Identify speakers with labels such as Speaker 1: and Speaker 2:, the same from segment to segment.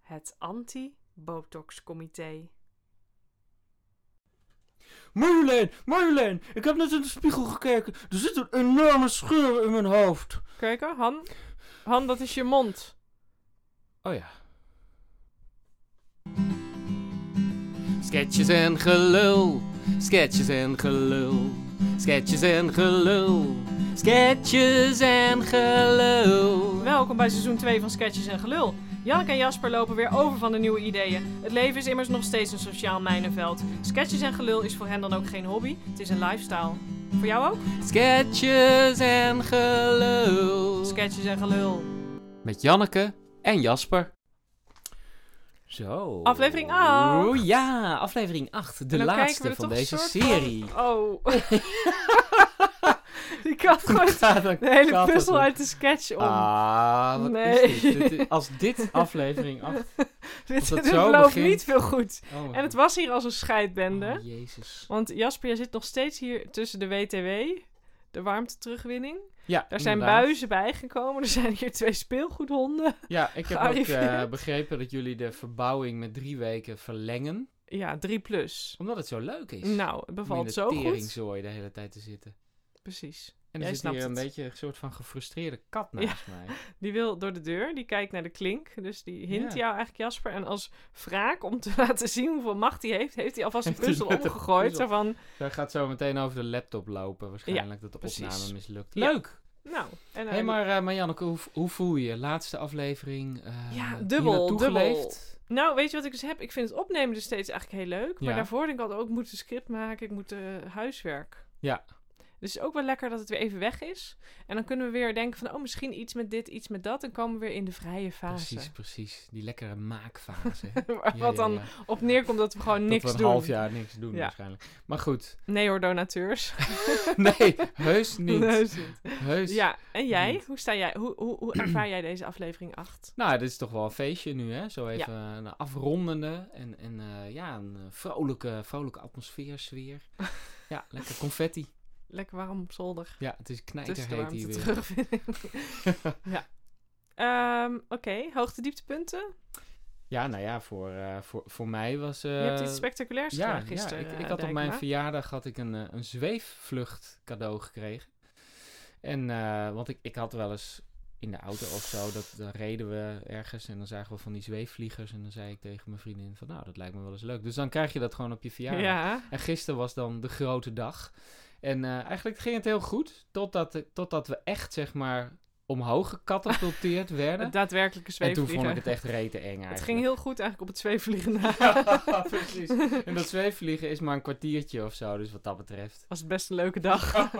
Speaker 1: Het Anti-Botox-comité.
Speaker 2: Marjolein, Marjolein, ik heb net in de spiegel gekeken. Er zit een enorme scheur in mijn hoofd.
Speaker 1: Kijken, Han. Han, dat is je mond.
Speaker 2: Oh ja.
Speaker 3: Sketches en gelul, sketches en gelul, sketches en gelul, sketches en gelul.
Speaker 1: Welkom bij seizoen 2 van Sketches en Gelul. Janneke en Jasper lopen weer over van de nieuwe ideeën. Het leven is immers nog steeds een sociaal mijnenveld. Sketches en Gelul is voor hen dan ook geen hobby, het is een lifestyle. Voor jou ook?
Speaker 3: Sketches en gelul.
Speaker 1: Sketches en Gelul.
Speaker 3: Met Janneke en Jasper.
Speaker 2: Zo.
Speaker 1: Aflevering acht.
Speaker 3: Oeh ja, aflevering 8, de
Speaker 1: En dan kijken we
Speaker 3: laatste
Speaker 1: er
Speaker 3: van
Speaker 1: toch
Speaker 3: deze
Speaker 1: een soort
Speaker 3: serie.
Speaker 1: Oh. Die kat gooit de hele puzzel uit de sketch om.
Speaker 3: Ah, wat
Speaker 1: Nee.
Speaker 3: is dit? Dit is- Als dit aflevering 8...
Speaker 1: dit
Speaker 3: dat
Speaker 1: dit
Speaker 3: zo
Speaker 1: belooft
Speaker 3: begint-
Speaker 1: niet veel goed.
Speaker 3: Oh,
Speaker 1: En het was hier als een scheidbende.
Speaker 3: Oh, jezus.
Speaker 1: Want Jasper, jij zit nog steeds hier tussen de WTW, de warmte-terugwinning.
Speaker 3: Ja,
Speaker 1: Daar zijn
Speaker 3: inderdaad.
Speaker 1: buizen bijgekomen. Er zijn hier twee speelgoedhonden.
Speaker 3: Ja, ik heb ook eh,
Speaker 1: Gearriveerd.
Speaker 3: begrepen dat jullie de verbouwing met drie weken verlengen.
Speaker 1: Ja, drie plus.
Speaker 3: Omdat het zo leuk is.
Speaker 1: Nou, het
Speaker 3: om in
Speaker 1: bevalt
Speaker 3: de
Speaker 1: zo goed.
Speaker 3: teringzooi de hele tijd te zitten.
Speaker 1: Precies.
Speaker 3: En
Speaker 1: Jij
Speaker 3: er zit
Speaker 1: snapt
Speaker 3: hier een
Speaker 1: het.
Speaker 3: beetje een soort van gefrustreerde kat naast mij.
Speaker 1: Die wil door de deur, die kijkt naar de klink. Dus die hint
Speaker 3: Ja.
Speaker 1: jou eigenlijk, Jasper. En als wraak om te laten zien hoeveel macht hij heeft, heeft hij alvast een
Speaker 3: Heeft hij
Speaker 1: puzzel
Speaker 3: net een
Speaker 1: omgegooid.
Speaker 3: puzzel.
Speaker 1: Zo van,
Speaker 3: Zij gaat zo meteen over de laptop lopen waarschijnlijk, dat de
Speaker 1: precies.
Speaker 3: opname mislukt.
Speaker 1: Ja.
Speaker 3: Leuk!
Speaker 1: nou. En,
Speaker 3: Hé,
Speaker 1: eh,
Speaker 3: hey, maar, eh, maar Janneke, hoe, hoe voel je je? Laatste aflevering. eh,
Speaker 1: Ja,
Speaker 3: hier
Speaker 1: dubbel,
Speaker 3: naartoe
Speaker 1: dubbel.
Speaker 3: geleefd?
Speaker 1: Nou, weet je wat ik dus heb? Ik vind het opnemen dus steeds eigenlijk heel leuk. Maar
Speaker 3: Ja.
Speaker 1: daarvoor denk ik altijd ook, ik moet een script maken, ik moet eh, huiswerk.
Speaker 3: Ja.
Speaker 1: Dus het is ook wel lekker dat het weer even weg is. En dan kunnen we weer denken van, oh, misschien iets met dit, iets met dat. En komen we weer in de vrije fase.
Speaker 3: Precies, precies. Die lekkere maakfase. hè.
Speaker 1: Waar-
Speaker 3: Ja,
Speaker 1: wat
Speaker 3: ja,
Speaker 1: dan
Speaker 3: ja.
Speaker 1: op neerkomt dat we gewoon
Speaker 3: Dat
Speaker 1: niks
Speaker 3: we een
Speaker 1: doen.
Speaker 3: half jaar niks doen
Speaker 1: Ja.
Speaker 3: waarschijnlijk. Maar goed.
Speaker 1: Nee hoor, donateurs.
Speaker 3: Nee, heus niet.
Speaker 1: Nee, is niet.
Speaker 3: Heus.
Speaker 1: Ja, en jij?
Speaker 3: Niet.
Speaker 1: Hoe, sta jij? Hoe, hoe, hoe ervaar jij deze aflevering 8?
Speaker 3: Nou, dit is toch wel een feestje nu, hè? Zo even eh, een afrondende en, en eh, ja, een eh, vrolijke, vrolijke atmosfeer, sfeer. ja, lekker confetti.
Speaker 1: Lekker warm op zolder.
Speaker 3: Ja, het is
Speaker 1: Tussen de
Speaker 3: knijterheet
Speaker 1: warmte
Speaker 3: hier weer.
Speaker 1: terug. ja. Ehm, Oké, hoogte dieptepunten?
Speaker 3: Ja, nou ja, voor, eh, voor, voor mij was... eh,
Speaker 1: Je hebt iets spectaculairs
Speaker 3: ja,
Speaker 1: gedaan
Speaker 3: ja,
Speaker 1: gisteren.
Speaker 3: ik, ik
Speaker 1: eh,
Speaker 3: had op mijn
Speaker 1: Dijkma.
Speaker 3: verjaardag had ik een, eh, een zweefvlucht cadeau gekregen. En, eh, want ik, ik had wel eens in de auto of zo, dat, dan reden we ergens en dan zagen we van die zweefvliegers. En dan zei ik tegen mijn vriendin van, nou, dat lijkt me wel eens leuk. Dus dan krijg je dat gewoon op je verjaardag.
Speaker 1: Ja,
Speaker 3: En gisteren was dan de grote dag. En eh, eigenlijk ging het heel goed. Totdat, eh, totdat we echt, zeg maar, omhoog gecatapulteerd werden.
Speaker 1: het daadwerkelijke
Speaker 3: En toen
Speaker 1: zweefvliegen.
Speaker 3: vond ik het echt rete eng eigenlijk.
Speaker 1: Het ging heel goed eigenlijk op het zweefvliegen na.
Speaker 3: Ja, precies. En dat zweefvliegen is maar een kwartiertje of zo. Dus wat dat betreft.
Speaker 1: was best een leuke dag.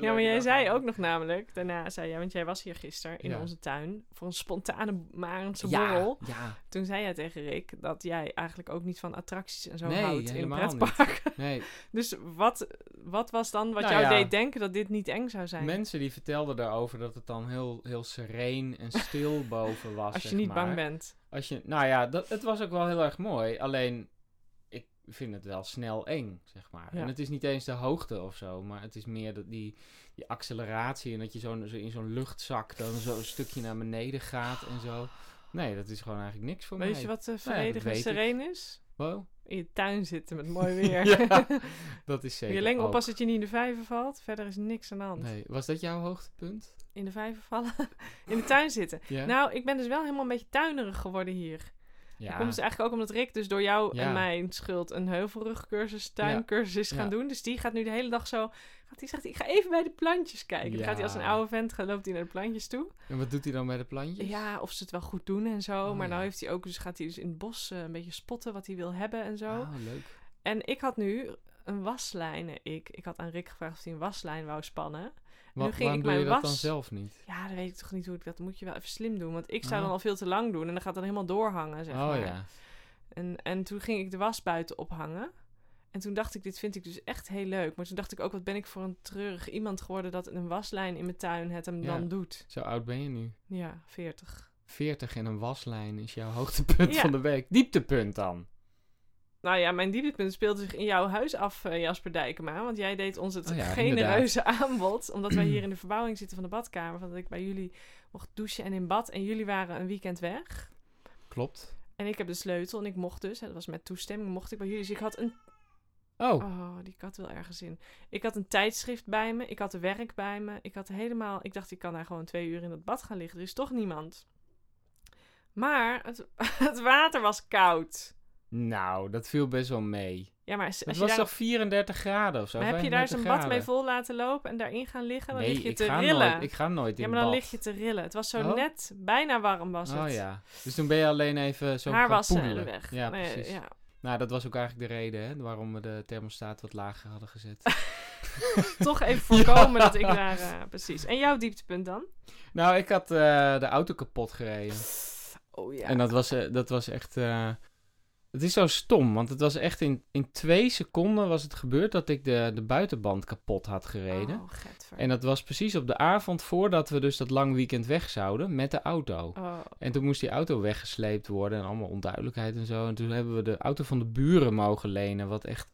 Speaker 1: Ja, maar jij zei ook nog namelijk, daarna zei jij, want jij was hier gisteren in
Speaker 3: Ja.
Speaker 1: onze tuin voor een spontane Marendse
Speaker 3: ja,
Speaker 1: borrel.
Speaker 3: ja,
Speaker 1: Toen zei jij tegen Rick dat jij eigenlijk ook niet van attracties en zo
Speaker 3: Nee,
Speaker 1: houdt in een
Speaker 3: helemaal niet.
Speaker 1: pretpark.
Speaker 3: nee.
Speaker 1: Dus wat, wat was dan wat
Speaker 3: Nou
Speaker 1: jou
Speaker 3: ja.
Speaker 1: deed denken dat dit niet eng zou zijn?
Speaker 3: Mensen die vertelden daarover dat het dan heel, heel sereen en stil boven was.
Speaker 1: als je
Speaker 3: zeg
Speaker 1: niet
Speaker 3: maar.
Speaker 1: bang bent.
Speaker 3: Als je, nou ja, dat, het was ook wel heel erg mooi. Alleen, ik vind het wel snel eng, zeg maar.
Speaker 1: Ja.
Speaker 3: En het is niet eens de hoogte of zo, maar het is meer dat die, die acceleratie en dat je zo, zo in zo'n luchtzak dan zo een stukje naar beneden gaat en zo. Nee, dat is gewoon eigenlijk niks voor mij.
Speaker 1: Weet je wat eh,
Speaker 3: dat
Speaker 1: vredig en
Speaker 3: weet ik.
Speaker 1: sereen is?
Speaker 3: Wow.
Speaker 1: In je tuin zitten met mooi weer.
Speaker 3: ja, dat is
Speaker 1: Moet je
Speaker 3: zeker.
Speaker 1: alleen
Speaker 3: ook.
Speaker 1: oppassen dat je niet in de vijver valt. Verder is niks aan de hand.
Speaker 3: Nee, was dat jouw hoogtepunt?
Speaker 1: In de vijver vallen. in de tuin zitten.
Speaker 3: Ja.
Speaker 1: Nou, ik ben dus wel helemaal een beetje tuinerig geworden hier.
Speaker 3: ja.
Speaker 1: Dat komt dus eigenlijk ook omdat Rick dus door jou en
Speaker 3: Ja.
Speaker 1: mijn schuld een heuvelrugcursus, tuincursus is gaan
Speaker 3: Ja.
Speaker 1: doen. Dus die gaat nu de hele dag zo... Gaat die zegt, ik ga even bij de plantjes kijken. Dan gaat hij als een
Speaker 3: Ja.
Speaker 1: oude vent, gaat- loopt hij naar de plantjes toe.
Speaker 3: En wat doet hij dan bij de plantjes?
Speaker 1: Ja, of ze het wel goed doen en zo.
Speaker 3: Oh,
Speaker 1: maar nou
Speaker 3: ja.
Speaker 1: heeft hij ook, dus gaat hij dus in het bos eh, een beetje spotten wat hij wil hebben en zo.
Speaker 3: Ah, leuk.
Speaker 1: En ik had nu een waslijnen. Ik, ik had aan Rick gevraagd of hij een waslijn wou spannen.
Speaker 3: Wa-
Speaker 1: ging
Speaker 3: waarom
Speaker 1: ik
Speaker 3: doe
Speaker 1: mijn
Speaker 3: je dat dan
Speaker 1: was-
Speaker 3: zelf niet?
Speaker 1: Ja, dat weet ik toch niet hoe ik dat moet je wel even slim doen. Want ik zou
Speaker 3: Ah.
Speaker 1: dan al veel te lang doen en dan gaat dan helemaal doorhangen. Zeg
Speaker 3: oh
Speaker 1: maar.
Speaker 3: ja.
Speaker 1: En, en toen ging ik de was buiten ophangen. En toen dacht ik, dit vind ik dus echt heel leuk. Maar toen dacht ik ook, wat ben ik voor een treurig iemand geworden dat een waslijn in mijn tuin het hem
Speaker 3: Ja.
Speaker 1: dan doet.
Speaker 3: Zo oud ben je nu.
Speaker 1: Ja, 40.
Speaker 3: 40 en een waslijn is jouw hoogtepunt
Speaker 1: Ja.
Speaker 3: van de week. Dieptepunt dan.
Speaker 1: Nou ja, mijn dieptepunt speelde zich in jouw huis af, eh, Jasper Dijkema. Want jij deed ons het
Speaker 3: Oh ja,
Speaker 1: genereuze aanbod. Omdat wij hier in de verbouwing zitten van de badkamer. Van dat ik bij jullie mocht douchen en in bad. En jullie waren een weekend weg.
Speaker 3: Klopt.
Speaker 1: En ik heb de sleutel en ik mocht dus, hè, dat was met toestemming, mocht ik bij jullie. Dus ik had een
Speaker 3: Oh,
Speaker 1: Oh, die kat wil ergens in. Ik had een tijdschrift bij me. Ik had werk bij me. Ik had helemaal... Ik dacht, ik kan daar gewoon twee uur in dat bad gaan liggen. Er is toch niemand. Maar het, het water was koud.
Speaker 3: nou, dat viel best wel mee.
Speaker 1: Ja, maar als,
Speaker 3: Het
Speaker 1: als je
Speaker 3: was
Speaker 1: daar,
Speaker 3: toch 34 graden of zo?
Speaker 1: maar heb je daar eens
Speaker 3: 35
Speaker 1: een bad mee
Speaker 3: graden?
Speaker 1: vol laten lopen en daarin gaan liggen? Dan
Speaker 3: nee,
Speaker 1: lig je
Speaker 3: ik
Speaker 1: te
Speaker 3: ga
Speaker 1: rillen.
Speaker 3: Nooit, ik ga nooit in
Speaker 1: ja, maar dan
Speaker 3: bad.
Speaker 1: lig je te rillen. Het was zo
Speaker 3: Oh.
Speaker 1: net bijna warm was het.
Speaker 3: Oh ja, dus toen ben je alleen even zo
Speaker 1: Haar
Speaker 3: gaan
Speaker 1: wassen en
Speaker 3: poedelen.
Speaker 1: weg.
Speaker 3: Ja,
Speaker 1: Nee,
Speaker 3: precies.
Speaker 1: ja.
Speaker 3: Nou, dat was ook eigenlijk de reden hè, waarom we de thermostaat wat lager hadden gezet.
Speaker 1: Toch even voorkomen dat ik daar... eh, precies. En jouw dieptepunt dan?
Speaker 3: nou, ik had eh, de auto kapot gereden.
Speaker 1: Oh ja.
Speaker 3: En dat was, eh, dat was echt... eh, het is zo stom, want het was echt in, in twee seconden was het gebeurd dat ik de, de buitenband kapot had gereden.
Speaker 1: Oh, getver.
Speaker 3: En dat was precies op de avond voordat we dus dat lang weekend weg zouden met de auto.
Speaker 1: Oh.
Speaker 3: En toen moest die auto weggesleept worden en allemaal onduidelijkheid en zo. En toen hebben we de auto van de buren mogen lenen, wat echt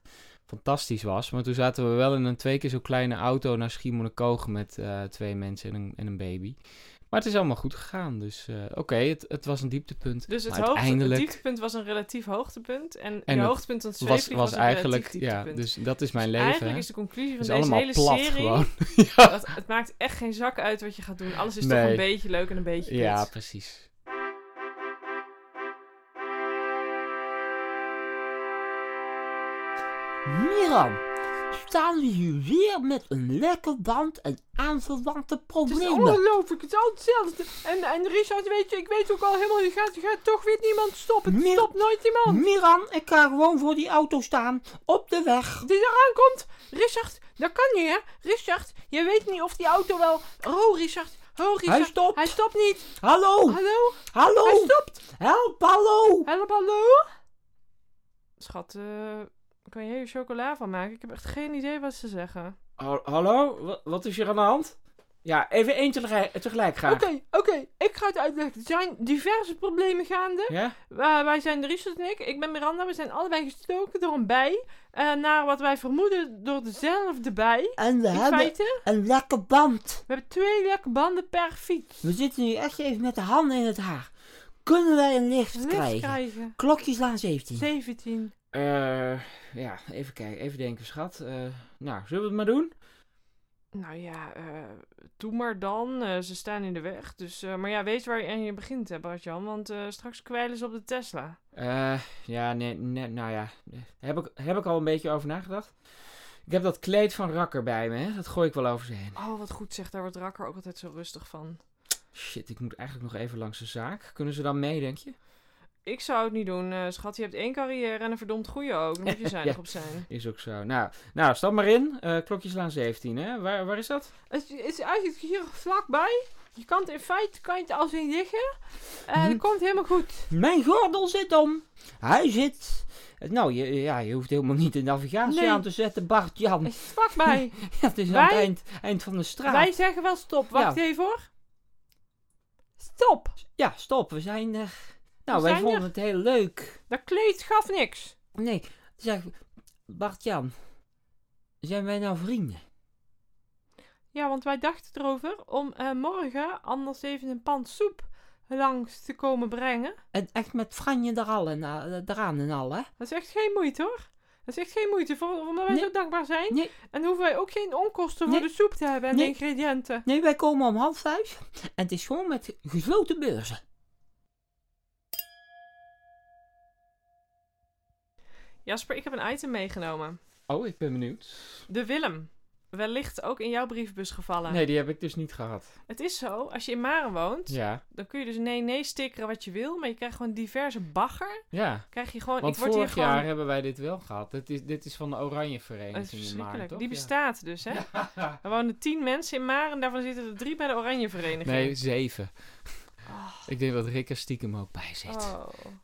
Speaker 3: fantastisch was. Maar toen zaten we wel in een twee keer zo kleine auto naar Schiermonnikoog met eh, twee mensen en een, en een baby. Maar het is allemaal goed gegaan, dus eh, oké, het, het was een dieptepunt.
Speaker 1: Dus het,
Speaker 3: Maar
Speaker 1: hoogte, het
Speaker 3: uiteindelijk-
Speaker 1: dieptepunt was een relatief hoogtepunt. En,
Speaker 3: En
Speaker 1: de
Speaker 3: het
Speaker 1: hoogtepunt van het
Speaker 3: Het was,
Speaker 1: zweefvlieg was,
Speaker 3: was
Speaker 1: een
Speaker 3: eigenlijk,
Speaker 1: relatief
Speaker 3: ja,
Speaker 1: dieptepunt.
Speaker 3: dus dat is mijn
Speaker 1: Dus
Speaker 3: leven.
Speaker 1: eigenlijk
Speaker 3: hè.
Speaker 1: is de conclusie
Speaker 3: Het is
Speaker 1: van deze
Speaker 3: allemaal
Speaker 1: hele
Speaker 3: plat
Speaker 1: serie...
Speaker 3: gewoon.
Speaker 1: Dat, het maakt echt geen zak uit wat je gaat doen. Alles is toch
Speaker 3: Nee.
Speaker 1: een beetje leuk en een beetje kut.
Speaker 3: ja, precies.
Speaker 2: Miran, staan we hier weer met een lekker band en aanverwante problemen.
Speaker 4: ongelooflijk, het is al hetzelfde. En, en Richard, weet je, ik weet ook al helemaal, je gaat, je gaat toch weer niemand stoppen.
Speaker 2: Meer-
Speaker 4: Stop nooit iemand.
Speaker 2: Miran, ik ga gewoon voor die auto staan, op de weg.
Speaker 4: Die eraan komt. Richard, dat kan niet, hè. Richard, je weet niet of die auto wel... Oh, Richard. Oh, Richard.
Speaker 2: Hij stopt.
Speaker 4: Hij stopt niet.
Speaker 2: Hallo,
Speaker 3: Oh.
Speaker 4: Hallo?
Speaker 2: hallo,
Speaker 4: Hij stopt.
Speaker 2: help, hallo.
Speaker 4: Help, hallo?
Speaker 1: Schat, eh, kan je hier chocola van maken? Ik heb echt geen idee wat ze zeggen.
Speaker 2: hallo, wat is hier aan de hand? Ja, even één tegelijk
Speaker 4: Oké, oké. Ik ga het uitleggen. Er zijn diverse problemen gaande.
Speaker 3: Ja?
Speaker 4: Wa- wij zijn Richard en ik. Ik ben Miranda. We zijn allebei gestoken door een bij. Eh, naar wat wij vermoeden door dezelfde bij.
Speaker 2: En we
Speaker 4: In
Speaker 2: hebben
Speaker 4: feite.
Speaker 2: een lekker band.
Speaker 4: We hebben twee lekke banden per fiets.
Speaker 2: We zitten nu echt even met de handen in het haar. Kunnen wij een licht,
Speaker 4: Licht
Speaker 2: krijgen? Hm.
Speaker 4: krijgen.
Speaker 2: Klokjes aan 17.
Speaker 4: 17.
Speaker 3: Eh, ja, even kijken, even denken, schat. Eh, nou, zullen we het maar doen?
Speaker 1: Nou ja, eh, doe maar dan. Eh, ze staan in de weg. Dus, eh, maar ja, weet waar je, aan je begint, hè, Bart-Jan. Want eh, straks kwijlen ze op de Tesla.
Speaker 3: Eh, ja, nee, nee, nou ja. Heb ik, heb ik al een beetje over nagedacht. Ik heb dat kleed van Rakker bij me, hè. Dat gooi ik wel over ze heen.
Speaker 1: Oh, wat goed zegt. Daar wordt Rakker ook altijd zo rustig van.
Speaker 3: Shit, ik moet eigenlijk nog even langs de zaak. Kunnen ze dan mee, denk je?
Speaker 1: Ik zou het niet doen, eh, schat. Je hebt één carrière en een verdomd goeie ook. Daar moet je zuinig op zijn.
Speaker 3: Is ook zo. Nou, nou stap maar in. Eh klokjeslaan 17, hè. Waar, waar is dat?
Speaker 4: Het is eigenlijk hier vlakbij. Je kan het in feite kan je het als in liggen. En
Speaker 2: Hm.
Speaker 4: dat komt helemaal goed.
Speaker 2: Mijn gordel zit om. Hij zit.
Speaker 3: Eh, nou, je, ja, je hoeft helemaal niet de navigatie
Speaker 4: Nee.
Speaker 3: aan te zetten, Bart-Jan.
Speaker 4: Het is vlakbij.
Speaker 3: Het is aan het
Speaker 4: Wij-
Speaker 3: eind, eind van de straat.
Speaker 4: Wij zeggen wel stop. Wacht
Speaker 3: Ja.
Speaker 4: even hoor. Stop.
Speaker 3: Ja, stop. We zijn er. Nou,
Speaker 4: We
Speaker 3: wij
Speaker 4: zijn
Speaker 3: vonden
Speaker 4: er.
Speaker 3: het heel leuk.
Speaker 4: Dat kleed gaf niks.
Speaker 2: Nee, zeg. Bart-Jan. Zijn wij nou vrienden?
Speaker 4: Ja, want wij dachten erover om eh, morgen anders even een pan soep langs te komen brengen.
Speaker 2: En echt met Franje er al en, a- eraan en al, hè?
Speaker 4: Dat is echt geen moeite hoor. Dat is echt geen moeite, voor, omdat wij
Speaker 2: Nee.
Speaker 4: zo dankbaar zijn.
Speaker 2: Nee.
Speaker 4: En hoeven wij ook geen onkosten
Speaker 2: Nee.
Speaker 4: voor de soep te hebben en
Speaker 2: Nee.
Speaker 4: de ingrediënten.
Speaker 2: Nee, wij komen om half vijf. En het is gewoon met gesloten beurzen.
Speaker 1: Jasper, ik heb een item meegenomen.
Speaker 3: Oh, ik ben benieuwd.
Speaker 1: De Willem. Wellicht ook in jouw briefbus gevallen.
Speaker 3: Nee, die heb ik dus niet gehad.
Speaker 1: Het is zo, als je in Maren woont,
Speaker 3: Ja.
Speaker 1: dan kun je dus nee-nee stickeren wat je wil. Maar je krijgt gewoon diverse bagger.
Speaker 3: Ja.
Speaker 1: Krijg je gewoon,
Speaker 3: Want
Speaker 1: ik word
Speaker 3: vorig
Speaker 1: hier
Speaker 3: jaar
Speaker 1: gewoon...
Speaker 3: hebben wij dit wel gehad. Dit is, dit is van de Oranje
Speaker 1: Het is
Speaker 3: Vereniging in Maart,
Speaker 1: verschrikkelijk.
Speaker 3: toch?
Speaker 1: Die
Speaker 3: Ja.
Speaker 1: bestaat dus, hè? Er wonen tien mensen in Maren en daarvan zitten er drie bij de Oranje Vereniging.
Speaker 3: Nee, zeven.
Speaker 1: Oh.
Speaker 3: Ik denk dat Rick er stiekem ook bij zit.
Speaker 1: Oh.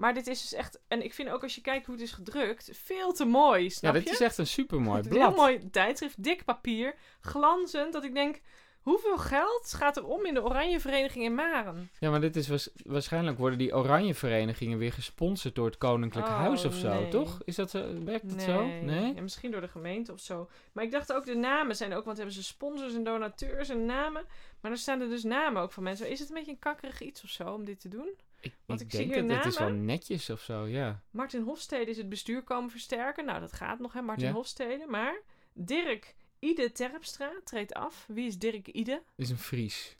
Speaker 1: Maar dit is dus echt... En ik vind ook als je kijkt hoe het is gedrukt, veel te mooi,
Speaker 3: ja,
Speaker 1: snap
Speaker 3: dit
Speaker 1: je?
Speaker 3: is echt een supermooi
Speaker 1: Het is een heel
Speaker 3: blad.
Speaker 1: mooi tijdschrift, dik papier, glanzend, dat ik denk... Hoeveel geld gaat er om in de Oranje Vereniging in Maren?
Speaker 3: Ja, maar dit is waars- waarschijnlijk worden die Oranje Verenigingen weer gesponsord door het Koninklijk
Speaker 1: Oh,
Speaker 3: Huis of zo,
Speaker 1: nee.
Speaker 3: toch? Is dat zo? Werkt dat zo? Nee.
Speaker 1: Ja, misschien door de gemeente of zo. Maar ik dacht ook, de namen zijn ook... Want hebben ze sponsors en donateurs en namen. Maar er staan er dus namen ook van mensen. Is het een beetje een kakkerig iets of zo om dit te doen?
Speaker 3: Ik,
Speaker 1: Want
Speaker 3: ik
Speaker 1: ik zie
Speaker 3: denk
Speaker 1: hier
Speaker 3: dat het is wel
Speaker 1: namen.
Speaker 3: netjes of zo, ja.
Speaker 1: Martin Hofstede is het bestuur komen versterken. Nou, dat gaat nog, hè, Martin
Speaker 3: Ja.
Speaker 1: Hofstede. Maar Dirk Ide Terpstra treedt af. Wie is Dirk Ide?
Speaker 3: Het is een Fries.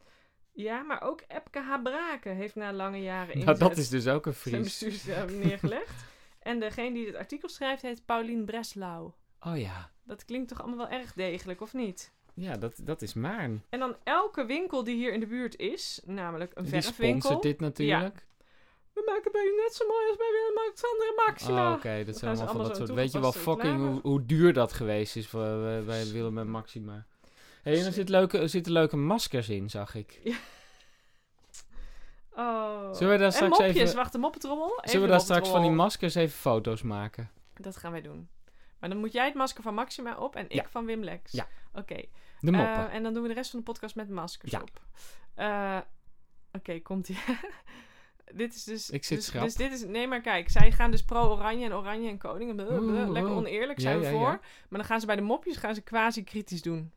Speaker 1: Ja, maar ook Epke H. Brake heeft na lange jaren
Speaker 3: Nou,
Speaker 1: inzet
Speaker 3: dat is dus ook een
Speaker 1: zijn
Speaker 3: Fries.
Speaker 1: bestuurswerk neergelegd. en degene die het artikel schrijft heet Paulien Breslau.
Speaker 3: Oh ja.
Speaker 1: Dat klinkt toch allemaal wel erg degelijk, of niet?
Speaker 3: Ja, dat, dat is Maarn.
Speaker 1: En dan elke winkel die hier in de buurt is, namelijk een
Speaker 3: Die
Speaker 1: verfwinkel.
Speaker 3: sponsort dit natuurlijk.
Speaker 1: We maken bij u net zo mooi als bij Willem-Alexander en Maxima.
Speaker 3: Oh, oké. Dat
Speaker 1: nou, ze
Speaker 3: zijn allemaal van
Speaker 1: allemaal
Speaker 3: dat
Speaker 1: zo'n
Speaker 3: soort... Weet je wel
Speaker 1: toegepaste
Speaker 3: fucking hoe,
Speaker 1: reclame.
Speaker 3: hoe duur dat geweest is voor, eh, bij Willem en Maxima. Hé, en er, zit leuke, er zitten leuke maskers in, zag ik.
Speaker 1: Oh.
Speaker 3: Zullen we daar
Speaker 1: en
Speaker 3: straks
Speaker 1: mopjes,
Speaker 3: even...
Speaker 1: wacht, de moppetrommel. Even
Speaker 3: Zullen
Speaker 1: de
Speaker 3: we daar straks van die
Speaker 1: moppetrommel.
Speaker 3: maskers even foto's maken?
Speaker 1: Dat gaan wij doen. Maar dan moet jij het masker van Maxima op en ik
Speaker 3: Ja.
Speaker 1: van Wim Lex.
Speaker 3: Ja.
Speaker 1: Oké.
Speaker 3: De moppen.
Speaker 1: Eh, en dan doen we de rest van de podcast met maskers
Speaker 3: Ja.
Speaker 1: op. Eh, Oké, komt ie. dit is dus.
Speaker 3: Ik zit
Speaker 1: dus,
Speaker 3: schrap.
Speaker 1: dus dit is. Nee, maar kijk, zij gaan dus pro-Oranje en Oranje en Koning. Bleh, bleh,
Speaker 3: Oeh,
Speaker 1: lekker
Speaker 3: oeh.
Speaker 1: oneerlijk
Speaker 3: Ja,
Speaker 1: zijn
Speaker 3: ja,
Speaker 1: we voor.
Speaker 3: ja.
Speaker 1: Maar dan gaan ze bij de mopjes gaan ze quasi kritisch doen.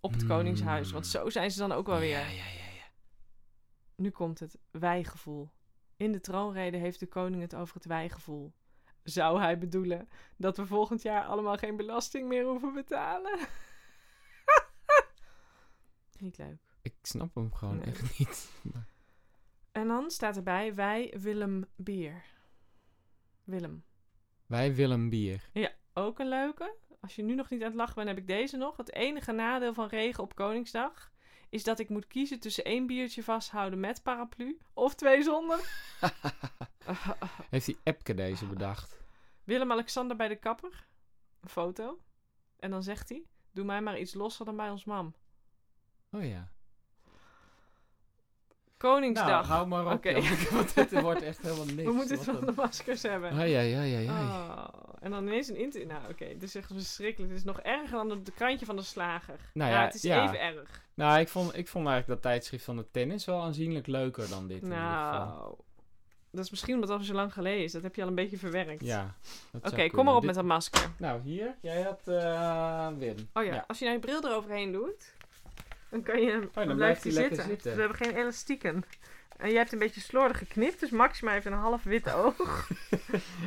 Speaker 1: Op het
Speaker 3: Mm.
Speaker 1: Koningshuis. Want zo zijn ze dan ook wel weer.
Speaker 3: Ja, ja, ja, ja.
Speaker 1: Nu komt het wijgevoel. In de troonrede heeft de koning het over het wijgevoel. Zou hij bedoelen dat we volgend jaar allemaal geen belasting meer hoeven betalen? Niet leuk.
Speaker 3: Ik snap hem gewoon
Speaker 1: Nee.
Speaker 3: echt niet. Maar-
Speaker 1: En dan staat erbij, wij Willem Bier. Willem.
Speaker 3: Wij willen bier.
Speaker 1: Ook een leuke. Als je nu nog niet aan het lachen bent, heb ik deze nog. Het enige nadeel van regen op Koningsdag is dat ik moet kiezen tussen één biertje vasthouden met paraplu of twee zonder.
Speaker 3: Heeft die Epke deze bedacht?
Speaker 1: Willem-Alexander bij de kapper. Een foto. En dan zegt hij: Doe mij maar iets losser dan bij ons mam.
Speaker 3: Oh ja. Nou,
Speaker 1: Koningsdag.
Speaker 3: hou maar op.
Speaker 1: Oké.
Speaker 3: Janneke, want dit wordt echt helemaal niks.
Speaker 1: we moeten het
Speaker 3: Wat
Speaker 1: van de
Speaker 3: een-
Speaker 1: maskers hebben.
Speaker 3: Ah, ja, ja, ja, ja.
Speaker 1: Oh, en dan ineens een inter... Nou, oké, dit is echt verschrikkelijk. Het is nog erger dan het krantje van de slager.
Speaker 3: Nou
Speaker 1: ja,
Speaker 3: ja,
Speaker 1: het is
Speaker 3: ja.
Speaker 1: even erg.
Speaker 3: Nou, ik vond, ik vond eigenlijk dat tijdschrift van de tennis wel aanzienlijk leuker dan dit. In ieder geval.
Speaker 1: Nou, dat is misschien omdat het al zo lang geleden is. Dat heb je al een beetje verwerkt.
Speaker 3: Ja. dat
Speaker 1: Oké,
Speaker 3: zou
Speaker 1: kom maar op met
Speaker 3: kunnen.
Speaker 1: dat masker.
Speaker 3: Dit- Nou, hier. Jij had eh, Wim.
Speaker 1: Oh ja, als je nou je bril eroverheen doet, dan kan je hem,
Speaker 3: Oh, dan
Speaker 1: dan
Speaker 3: blijft
Speaker 1: blijft
Speaker 3: hij
Speaker 1: hij
Speaker 3: lekker
Speaker 1: zitten. Dus
Speaker 3: zitten.
Speaker 1: We hebben geen elastieken. En jij hebt een beetje slordig geknipt, dus Maxima heeft een half wit oog.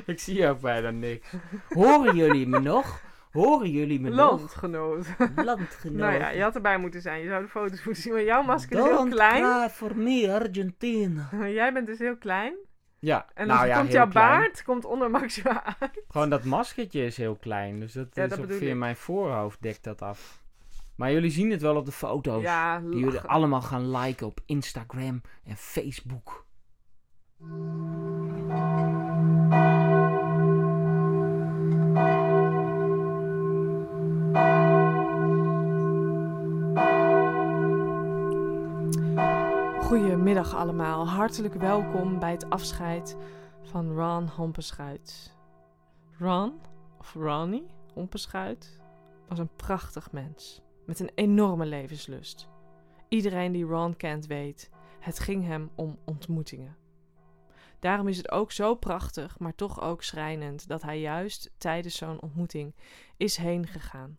Speaker 3: Ik zie ook bijna niks.
Speaker 2: Horen jullie me nog? Horen jullie me
Speaker 1: Landgenoot.
Speaker 2: nog? Landgenoten.
Speaker 1: Nou ja, je had erbij moeten zijn. Je zou de foto's moeten zien, maar jouw masker is heel klein.
Speaker 2: klaar voor me, Argentina.
Speaker 1: Jij bent dus heel klein.
Speaker 3: Ja.
Speaker 1: En
Speaker 3: nou
Speaker 1: dan
Speaker 3: ja,
Speaker 1: komt
Speaker 3: heel
Speaker 1: jouw
Speaker 3: klein.
Speaker 1: baard komt onder Maxima aan.
Speaker 3: Gewoon dat maskertje is heel klein. Dus dat
Speaker 1: Ja,
Speaker 3: is
Speaker 1: dat bedoel
Speaker 3: ongeveer
Speaker 1: ik.
Speaker 3: mijn voorhoofd dekt dat af. Maar jullie zien het wel op de foto's.
Speaker 1: Ja,
Speaker 2: Die jullie
Speaker 1: lachen.
Speaker 2: allemaal gaan liken op Instagram en Facebook.
Speaker 1: Goedemiddag allemaal. Hartelijk welkom bij het afscheid van Ron Hompenschuit. Ron, of Ronnie Hompenschuit, was een prachtig mens. Met een enorme levenslust. Iedereen die Ron kent weet, het ging hem om ontmoetingen. Daarom is het ook zo prachtig, maar toch ook schrijnend, dat hij juist tijdens zo'n ontmoeting is heen gegaan.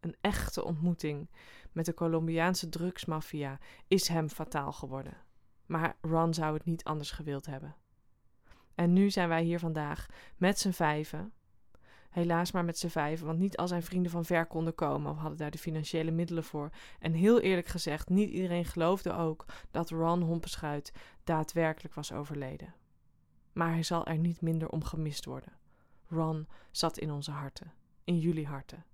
Speaker 1: Een echte ontmoeting met de Colombiaanse drugsmafia is hem fataal geworden. Maar Ron zou het niet anders gewild hebben. En nu zijn wij hier vandaag met z'n vijven. Helaas maar met z'n vijven, want niet al zijn vrienden van ver konden komen of hadden daar de financiële middelen voor. En heel eerlijk gezegd, niet iedereen geloofde ook dat Ron Hompenschuit daadwerkelijk was overleden. Maar hij zal er niet minder om gemist worden. Ron zat in onze harten, in jullie harten.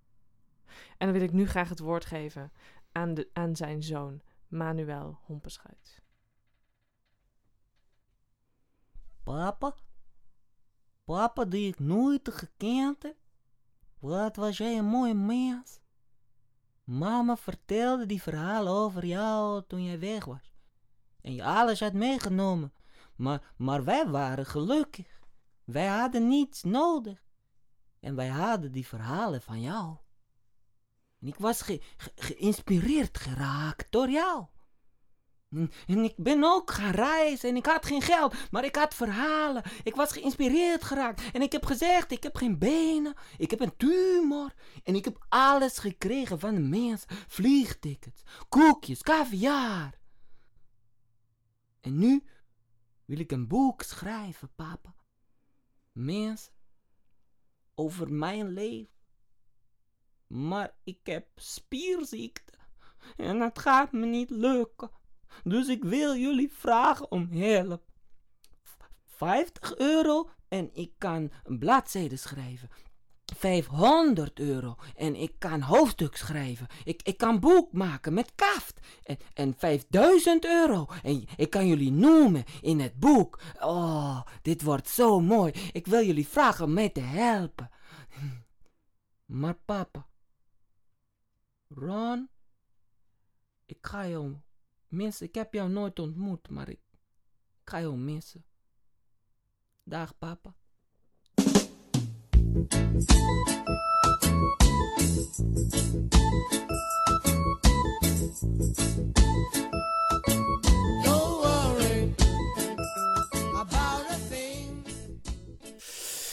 Speaker 1: En dan wil ik nu graag het woord geven aan, de, aan zijn zoon, Manuel Hompenschuit.
Speaker 2: Papa? Papa die ik nooit gekend heb? Wat was jij een mooi mens? Mama vertelde die verhalen over jou toen jij weg was. En je alles had meegenomen. Maar, maar wij waren gelukkig. Wij hadden niets nodig. En wij hadden die verhalen van jou. En ik was ge- ge- geïnspireerd geraakt door jou. En- Hm. En ik ben ook gaan reizen en ik had geen geld, maar ik had verhalen. Ik was geïnspireerd geraakt en ik heb gezegd, ik heb geen benen, ik heb een tumor. En ik heb alles gekregen van de mens. Vliegtickets, koekjes, caviar. En nu, wil ik een boek schrijven, papa. Mensen, over mijn leven. Maar ik heb spierziekte en het gaat me niet lukken. Dus ik wil jullie vragen om hulp. V- 50 euro en ik kan een bladzijde schrijven. 500 euro en ik kan hoofdstuk schrijven. Ik, ik kan boek maken met kaft. En, en 5000 euro. En ik kan jullie noemen in het boek. Oh, dit wordt zo mooi. Ik wil jullie vragen om mij te helpen. Maar papa, Ron, ik ga jou missen. Ik heb jou nooit ontmoet, maar ik, ik ga jou missen. Dag papa.
Speaker 5: Don't worry about a thing.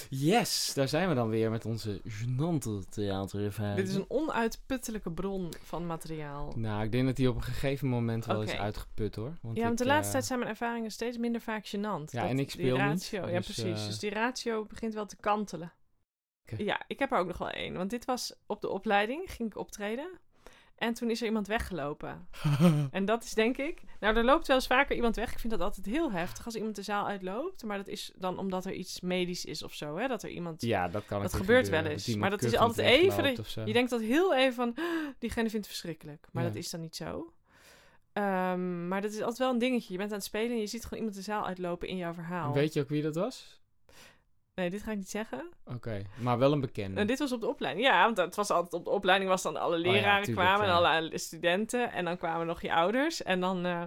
Speaker 3: Yes, daar zijn we dan weer met onze genante theaterervaring.
Speaker 1: Dit is een onuitputtelijke bron van materiaal.
Speaker 3: Nou, ik denk dat die op een gegeven moment wel is
Speaker 1: Oké.
Speaker 3: uitgeput hoor. Want
Speaker 1: ja, want de
Speaker 3: ik,
Speaker 1: laatste
Speaker 3: eh,
Speaker 1: tijd zijn mijn ervaringen steeds minder vaak gênant.
Speaker 3: Ja,
Speaker 1: Dat
Speaker 3: en ik
Speaker 1: die
Speaker 3: speel niet,
Speaker 1: ratio, Ja,
Speaker 3: dus,
Speaker 1: precies.
Speaker 3: eh,
Speaker 1: Dus die ratio begint wel te kantelen.
Speaker 3: Oké.
Speaker 1: Ja, ik heb er ook nog wel één. Want dit was op de opleiding, ging ik optreden. En toen is er iemand weggelopen. en dat is denk ik... Nou, er loopt wel eens vaker iemand weg. Ik vind dat altijd heel heftig als iemand de zaal uitloopt. Maar dat is dan omdat er iets medisch is of zo, hè? Dat er iemand...
Speaker 3: Ja, dat kan
Speaker 1: Dat
Speaker 3: natuurlijk
Speaker 1: gebeurt wel
Speaker 3: gebeuren,
Speaker 1: eens,
Speaker 3: iemand
Speaker 1: maar dat is
Speaker 3: kuffend
Speaker 1: altijd even
Speaker 3: wegloopt
Speaker 1: dat-
Speaker 3: of zo.
Speaker 1: Je denkt dat heel even van, "Ah, diegene vindt het verschrikkelijk. Maar
Speaker 3: Ja.
Speaker 1: dat is dan niet zo. Ehm, maar dat is altijd wel een dingetje. Je bent aan het spelen en je ziet gewoon iemand de zaal uitlopen in jouw verhaal.
Speaker 3: Weet je ook wie dat was?
Speaker 1: Nee, dit ga ik niet zeggen.
Speaker 3: Oké, maar wel een bekende.
Speaker 1: Nou, dit was op de opleiding. Ja, want het was altijd op de opleiding was dan alle
Speaker 3: Oh ja,
Speaker 1: leraren
Speaker 3: tuurlijk,
Speaker 1: kwamen
Speaker 3: ja.
Speaker 1: en alle studenten. En dan kwamen nog je ouders. En dan, eh,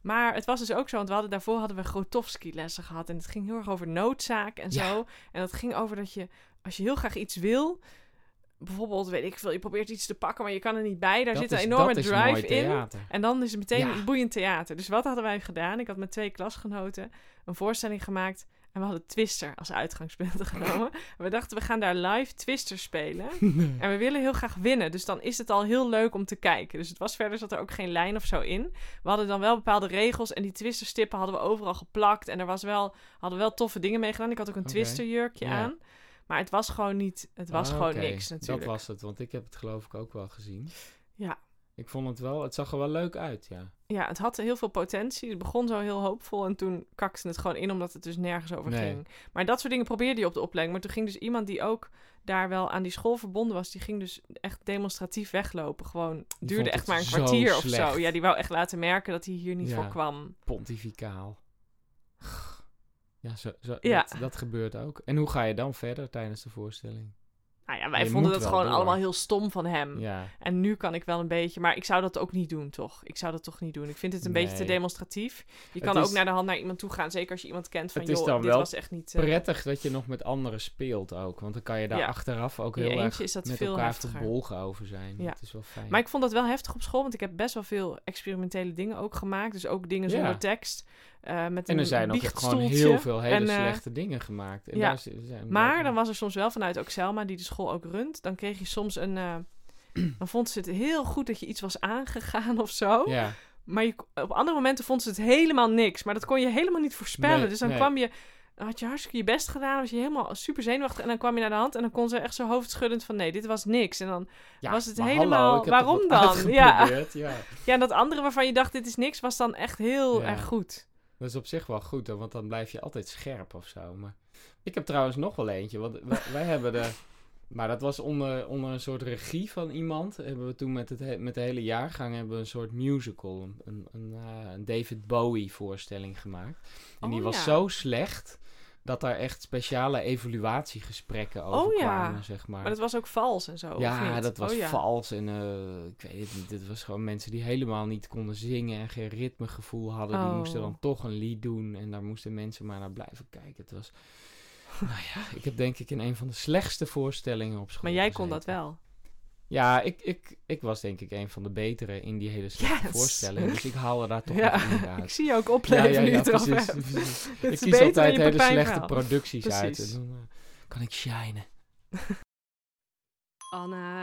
Speaker 1: maar het was dus ook zo, want we hadden, daarvoor hadden we Grotowski lessen gehad. En het ging heel erg over noodzaak en
Speaker 3: Ja.
Speaker 1: zo. En dat ging over dat je, als je heel graag iets wil... Bijvoorbeeld, weet ik veel, je probeert iets te pakken, maar je kan er niet bij. Daar
Speaker 3: Dat
Speaker 1: zit een
Speaker 3: is-
Speaker 1: enorme
Speaker 3: dat is mooi
Speaker 1: drive in.
Speaker 3: theater.
Speaker 1: En dan is het meteen
Speaker 3: Ja.
Speaker 1: een boeiend theater. Dus wat hadden wij gedaan? Ik had met twee klasgenoten een voorstelling gemaakt. En we hadden Twister als uitgangspunt genomen. En we dachten, we gaan daar live Twister spelen. En we willen heel graag winnen. Dus dan is het al heel leuk om te kijken. Dus het was verder, zat er ook geen lijn of zo in. We hadden dan wel bepaalde regels. En die Twisterstippen hadden we overal geplakt. En er was wel, hadden we wel toffe dingen mee gedaan. Ik had ook een
Speaker 3: Oké.
Speaker 1: Twisterjurkje
Speaker 3: Ja.
Speaker 1: aan. Maar het was gewoon niet, het was
Speaker 3: Ah,
Speaker 1: gewoon
Speaker 3: oké.
Speaker 1: niks natuurlijk.
Speaker 3: Dat was het, want ik heb het geloof ik ook wel gezien.
Speaker 1: Ja.
Speaker 3: Ik vond het wel, het zag er wel leuk uit, ja.
Speaker 1: ja, het had heel veel potentie. Het begon zo heel hoopvol en toen kakte het gewoon in omdat het dus nergens over
Speaker 3: Nee.
Speaker 1: ging. Maar dat soort dingen probeerde je op de opleiding. Maar toen ging dus iemand die ook daar wel aan die school verbonden was, die ging dus echt demonstratief weglopen. Gewoon duurde
Speaker 3: vond
Speaker 1: echt
Speaker 3: het
Speaker 1: maar een
Speaker 3: zo
Speaker 1: kwartier of
Speaker 3: slecht.
Speaker 1: zo. Ja, die wou echt laten merken dat hij hier niet
Speaker 3: Ja.
Speaker 1: voor kwam. Nou
Speaker 3: Pontificaal. Ja, zo, zo,
Speaker 1: Ja.
Speaker 3: Dat, dat gebeurt ook. En hoe ga je dan verder tijdens de voorstelling?
Speaker 1: Nou ja, wij
Speaker 3: Je
Speaker 1: vonden
Speaker 3: moet
Speaker 1: dat
Speaker 3: wel
Speaker 1: gewoon
Speaker 3: door.
Speaker 1: allemaal heel stom van hem.
Speaker 3: Ja,
Speaker 1: En nu kan ik wel een beetje, maar ik zou dat ook niet doen, toch? Ik zou dat toch niet doen. Ik vind het een beetje te
Speaker 3: Nee.
Speaker 1: demonstratief. Je
Speaker 3: Het
Speaker 1: kan
Speaker 3: is-
Speaker 1: ook naar de hand naar iemand toe gaan, zeker als je iemand kent van,
Speaker 3: Het is
Speaker 1: joh,
Speaker 3: dan
Speaker 1: dit
Speaker 3: wel
Speaker 1: was echt niet... eh,
Speaker 3: prettig dat je nog met anderen speelt ook. Want dan kan je daar
Speaker 1: Ja.
Speaker 3: achteraf ook
Speaker 1: In je
Speaker 3: heel erg
Speaker 1: eentje is dat
Speaker 3: met
Speaker 1: veel
Speaker 3: elkaar
Speaker 1: heftiger.
Speaker 3: verbolgen over zijn.
Speaker 1: Ja.
Speaker 3: Dat is wel fijn.
Speaker 1: Maar ik vond dat wel heftig op school, want ik heb best wel veel experimentele dingen ook gemaakt. Dus ook dingen
Speaker 3: Ja.
Speaker 1: zonder tekst. eh, met
Speaker 3: en
Speaker 1: een
Speaker 3: er zijn ook echt gewoon
Speaker 1: biechtstoeltje.
Speaker 3: heel veel hele
Speaker 1: En, eh,
Speaker 3: slechte dingen gemaakt. En
Speaker 1: ja.
Speaker 3: daar z- zijn
Speaker 1: Maar dan was er soms wel vanuit ook Selma, die de school ook runt. Dan kreeg je soms een... eh, dan vond ze het heel goed dat je iets was aangegaan of zo.
Speaker 3: Ja,
Speaker 1: Maar je, op andere momenten vond ze het helemaal niks. Maar dat kon je helemaal niet voorspellen.
Speaker 3: Nee,
Speaker 1: dus dan
Speaker 3: nee.
Speaker 1: kwam je... Dan had je hartstikke je best gedaan. Was je helemaal super zenuwachtig. En dan kwam je naar de hand. En dan kon ze echt zo hoofdschuddend van... Nee, dit was niks. En dan...
Speaker 3: ja,
Speaker 1: Was het
Speaker 3: maar
Speaker 1: helemaal-
Speaker 3: ik heb toch
Speaker 1: waarom
Speaker 3: wat
Speaker 1: dan? Ja.
Speaker 3: uitgeprobeerd, ja.
Speaker 1: Ja, en dat andere waarvan je dacht dit is niks... was dan echt heel
Speaker 3: Ja.
Speaker 1: erg goed.
Speaker 3: Dat is op zich wel goed, hoor, want dan blijf je altijd scherp of zo. Maar ik heb trouwens nog wel eentje, want wij, wij hebben de... Maar dat was onder, onder een soort regie van iemand. Hebben we toen met, het he- met de hele jaargang hebben we een soort musical, een, een, een, eh, een David Bowie voorstelling gemaakt. En die
Speaker 1: Oh,
Speaker 3: was
Speaker 1: ja.
Speaker 3: zo slecht dat daar echt speciale evaluatiegesprekken over
Speaker 1: Oh, ja.
Speaker 3: kwamen, zeg maar.
Speaker 1: Maar dat was ook vals en zo. of
Speaker 3: ja,
Speaker 1: niet?
Speaker 3: dat was
Speaker 1: Oh, ja.
Speaker 3: vals en eh, ik weet het niet. Het was gewoon mensen die helemaal niet konden zingen en geen ritmegevoel hadden. Die
Speaker 1: Oh.
Speaker 3: moesten dan toch een lied doen en daar moesten mensen maar naar blijven kijken. Het was, nou ja, ik heb denk ik in een van de slechtste voorstellingen op school
Speaker 1: Maar jij kon dat
Speaker 3: gezeten.
Speaker 1: wel.
Speaker 3: Ja, ik, ik, ik was denk ik een van de betere in die hele slechte
Speaker 1: Yes.
Speaker 3: voorstelling. Dus ik haalde daar toch
Speaker 1: Ja,
Speaker 3: nog in
Speaker 1: Ik
Speaker 3: uit.
Speaker 1: zie je ook opleven nu je het erover
Speaker 3: precies,
Speaker 1: hebt.
Speaker 3: precies.
Speaker 1: Dit
Speaker 3: Ik
Speaker 1: is
Speaker 3: kies
Speaker 1: beter dan
Speaker 3: altijd
Speaker 1: je
Speaker 3: hele slechte
Speaker 1: papijnverhaal.
Speaker 3: producties uit. En
Speaker 1: Precies.
Speaker 3: dan eh, kan ik shinen.